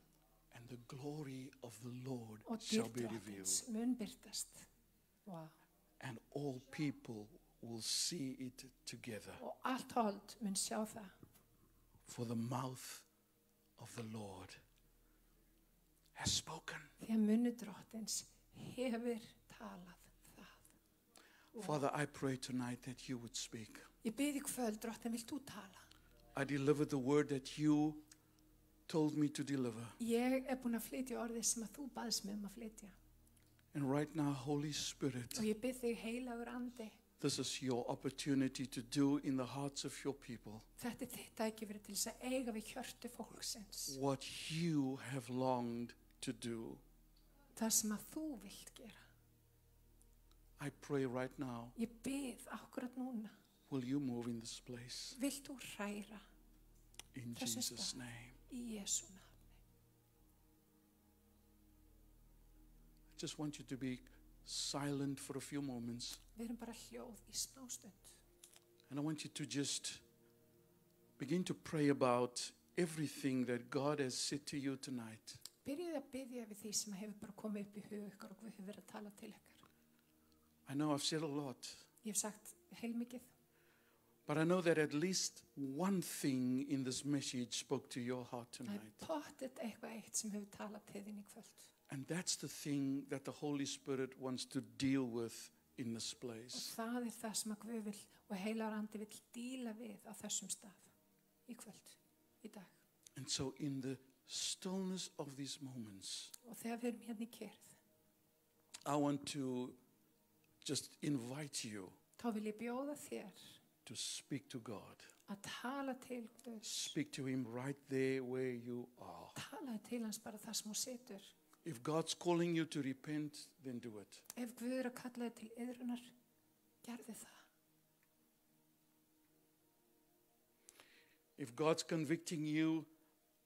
Speaker 2: And the glory of the Lord
Speaker 1: og
Speaker 2: shall
Speaker 1: dýr
Speaker 2: be revealed,
Speaker 1: drottins mun byrtast. Wow.
Speaker 2: and all people will see it together.
Speaker 1: Og allt hold mun sjá það.
Speaker 2: For the mouth of the Lord has spoken.
Speaker 1: Því að munnu drottins hefur talað það.
Speaker 2: Father, I pray tonight that you would speak.
Speaker 1: Ég byrði kvöld, drottin, vilt þú tala?
Speaker 2: I delivered the word that you told me to deliver.
Speaker 1: Ég er búin að flytja orðið sem að þú baðst mig um að flytja.
Speaker 2: And right now, Holy Spirit,
Speaker 1: Og ég byrð þig heilagur andi.
Speaker 2: this is your opportunity to do in the hearts of your people
Speaker 1: Þetta er þitt ekki verið til þess að eiga við hjörtu fólksins.
Speaker 2: what you have longed to do.
Speaker 1: Það sem að þú vilt gera.
Speaker 2: I pray right now,
Speaker 1: Ég byrð akkurat núna.
Speaker 2: will you move in this place?
Speaker 1: Vilt þú hræra
Speaker 2: In
Speaker 1: Press this
Speaker 2: Jesus'
Speaker 1: down.
Speaker 2: name.
Speaker 1: í Jésu nafni?
Speaker 2: I just want you to be silent for a few moments.
Speaker 1: Við erum bara hljóð í smástund.
Speaker 2: And I want you to just begin to pray about everything that God has said to you tonight.
Speaker 1: Byrjuð að byrja við því sem hefur bara komið upp í huga ykkur og við höfum verið að tala til ykkar.
Speaker 2: I know I've said a lot,
Speaker 1: Ég hef sagt heilmikið.
Speaker 2: but I know that at least one thing in this message spoke to your heart
Speaker 1: Það
Speaker 2: tonight.
Speaker 1: er pottet eitthvað eitt sem hefur talað til þín í kvöld.
Speaker 2: And that's the thing that the Holy Spirit wants to deal with in this
Speaker 1: Og
Speaker 2: place.
Speaker 1: það er það sem að Guð vil og heilarandi vil díla við á þessum stað í kvöld, í dag.
Speaker 2: And so, in the stillness of these moments,
Speaker 1: Og þegar við erum hérna í kyrð,
Speaker 2: I want to just invite you
Speaker 1: þá vil ég bjóða þér
Speaker 2: to speak to God.
Speaker 1: að tala til Guðs.
Speaker 2: Speak to Him right there where you are.
Speaker 1: Talaði til hans bara það sem hún situr.
Speaker 2: If God's calling you to repent, then do it.
Speaker 1: Ef Guð er að kalla þig til yðrunar, gerði það.
Speaker 2: If God's convicting you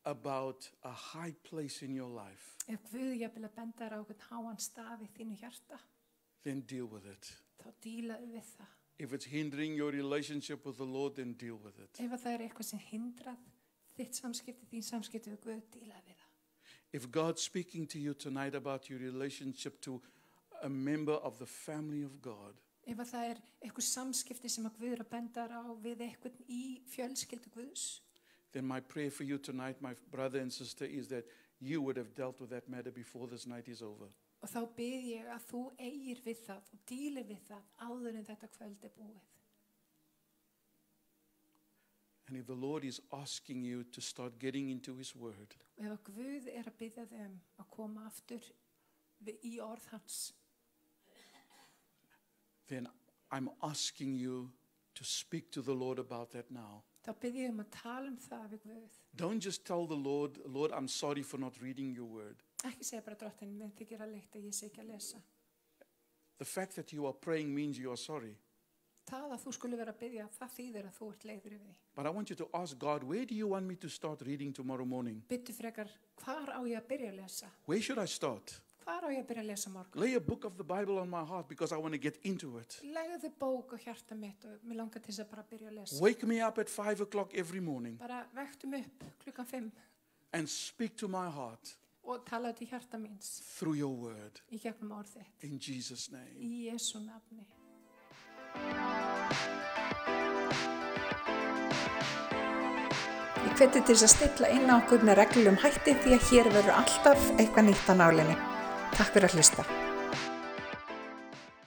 Speaker 2: about a high place in your life,
Speaker 1: Ef Guð jafnvel að benda þér á hvern háan stað í þínu hjarta,
Speaker 2: then deal with it.
Speaker 1: þá dílaðu við það.
Speaker 2: If it's hindering your relationship with the Lord, then deal with it.
Speaker 1: Ef að það er eitthvað sem hindrað þitt samskipti, þín samskipti við Guð, dílaðu við það.
Speaker 2: If God's speaking to you tonight about your relationship to a member of the family of God,
Speaker 1: Ef að það er eitthvað samskipti sem að Guð er að benda þér á við eitthvað í fjölskyldu Guðs,
Speaker 2: Then my prayer for you tonight, my brother and sister, is that you would have dealt with that matter before this night is over.
Speaker 1: Og þá bið ég að þú eigir við það og dílir við það áður en þetta kvöld er búið.
Speaker 2: And if the Lord is asking you to start getting into His Word,
Speaker 1: Og ef að Guð er að byggja þeim að koma aftur við- í orð hans,
Speaker 2: then I'm asking you to speak to the Lord about that now.
Speaker 1: þá bið ég um að tala um það við Guð.
Speaker 2: Don't just tell the Lord, Lord, I'm sorry for not reading your Word.
Speaker 1: Ekki segja bara drottin, mér þykir að leikta, ég sé ekki að lesa.
Speaker 2: The fact that you are praying means you are sorry.
Speaker 1: Það að þú skulle vera að byggja, það þýðir að þú ert leiður yfir því.
Speaker 2: But I want you to ask God, where do you want me to start reading tomorrow morning?
Speaker 1: Byttu frekar, hvar á ég að byrja að lesa?
Speaker 2: Where should I start?
Speaker 1: Hvar á ég að byrja að lesa morgun?
Speaker 2: Lay a book of the Bible on my heart because I want to get into it.
Speaker 1: Legðu bók á hjarta mitt og mér langar til þess að bara byrja að lesa.
Speaker 2: Wake me up at five o'clock every morning
Speaker 1: Bara vektum upp klukkan fimm
Speaker 2: and speak to my heart
Speaker 1: og talaðu til hjarta míns
Speaker 2: through your word.
Speaker 1: í gegnum orðið.
Speaker 2: In Jesus' name.
Speaker 1: Í Jésu nafni.
Speaker 3: Ég hveti til þess að stilla inn á okkur með reglum hætti því að hér verður alltaf eitthvað nýtt á nálinni. Takk fyrir að hlusta.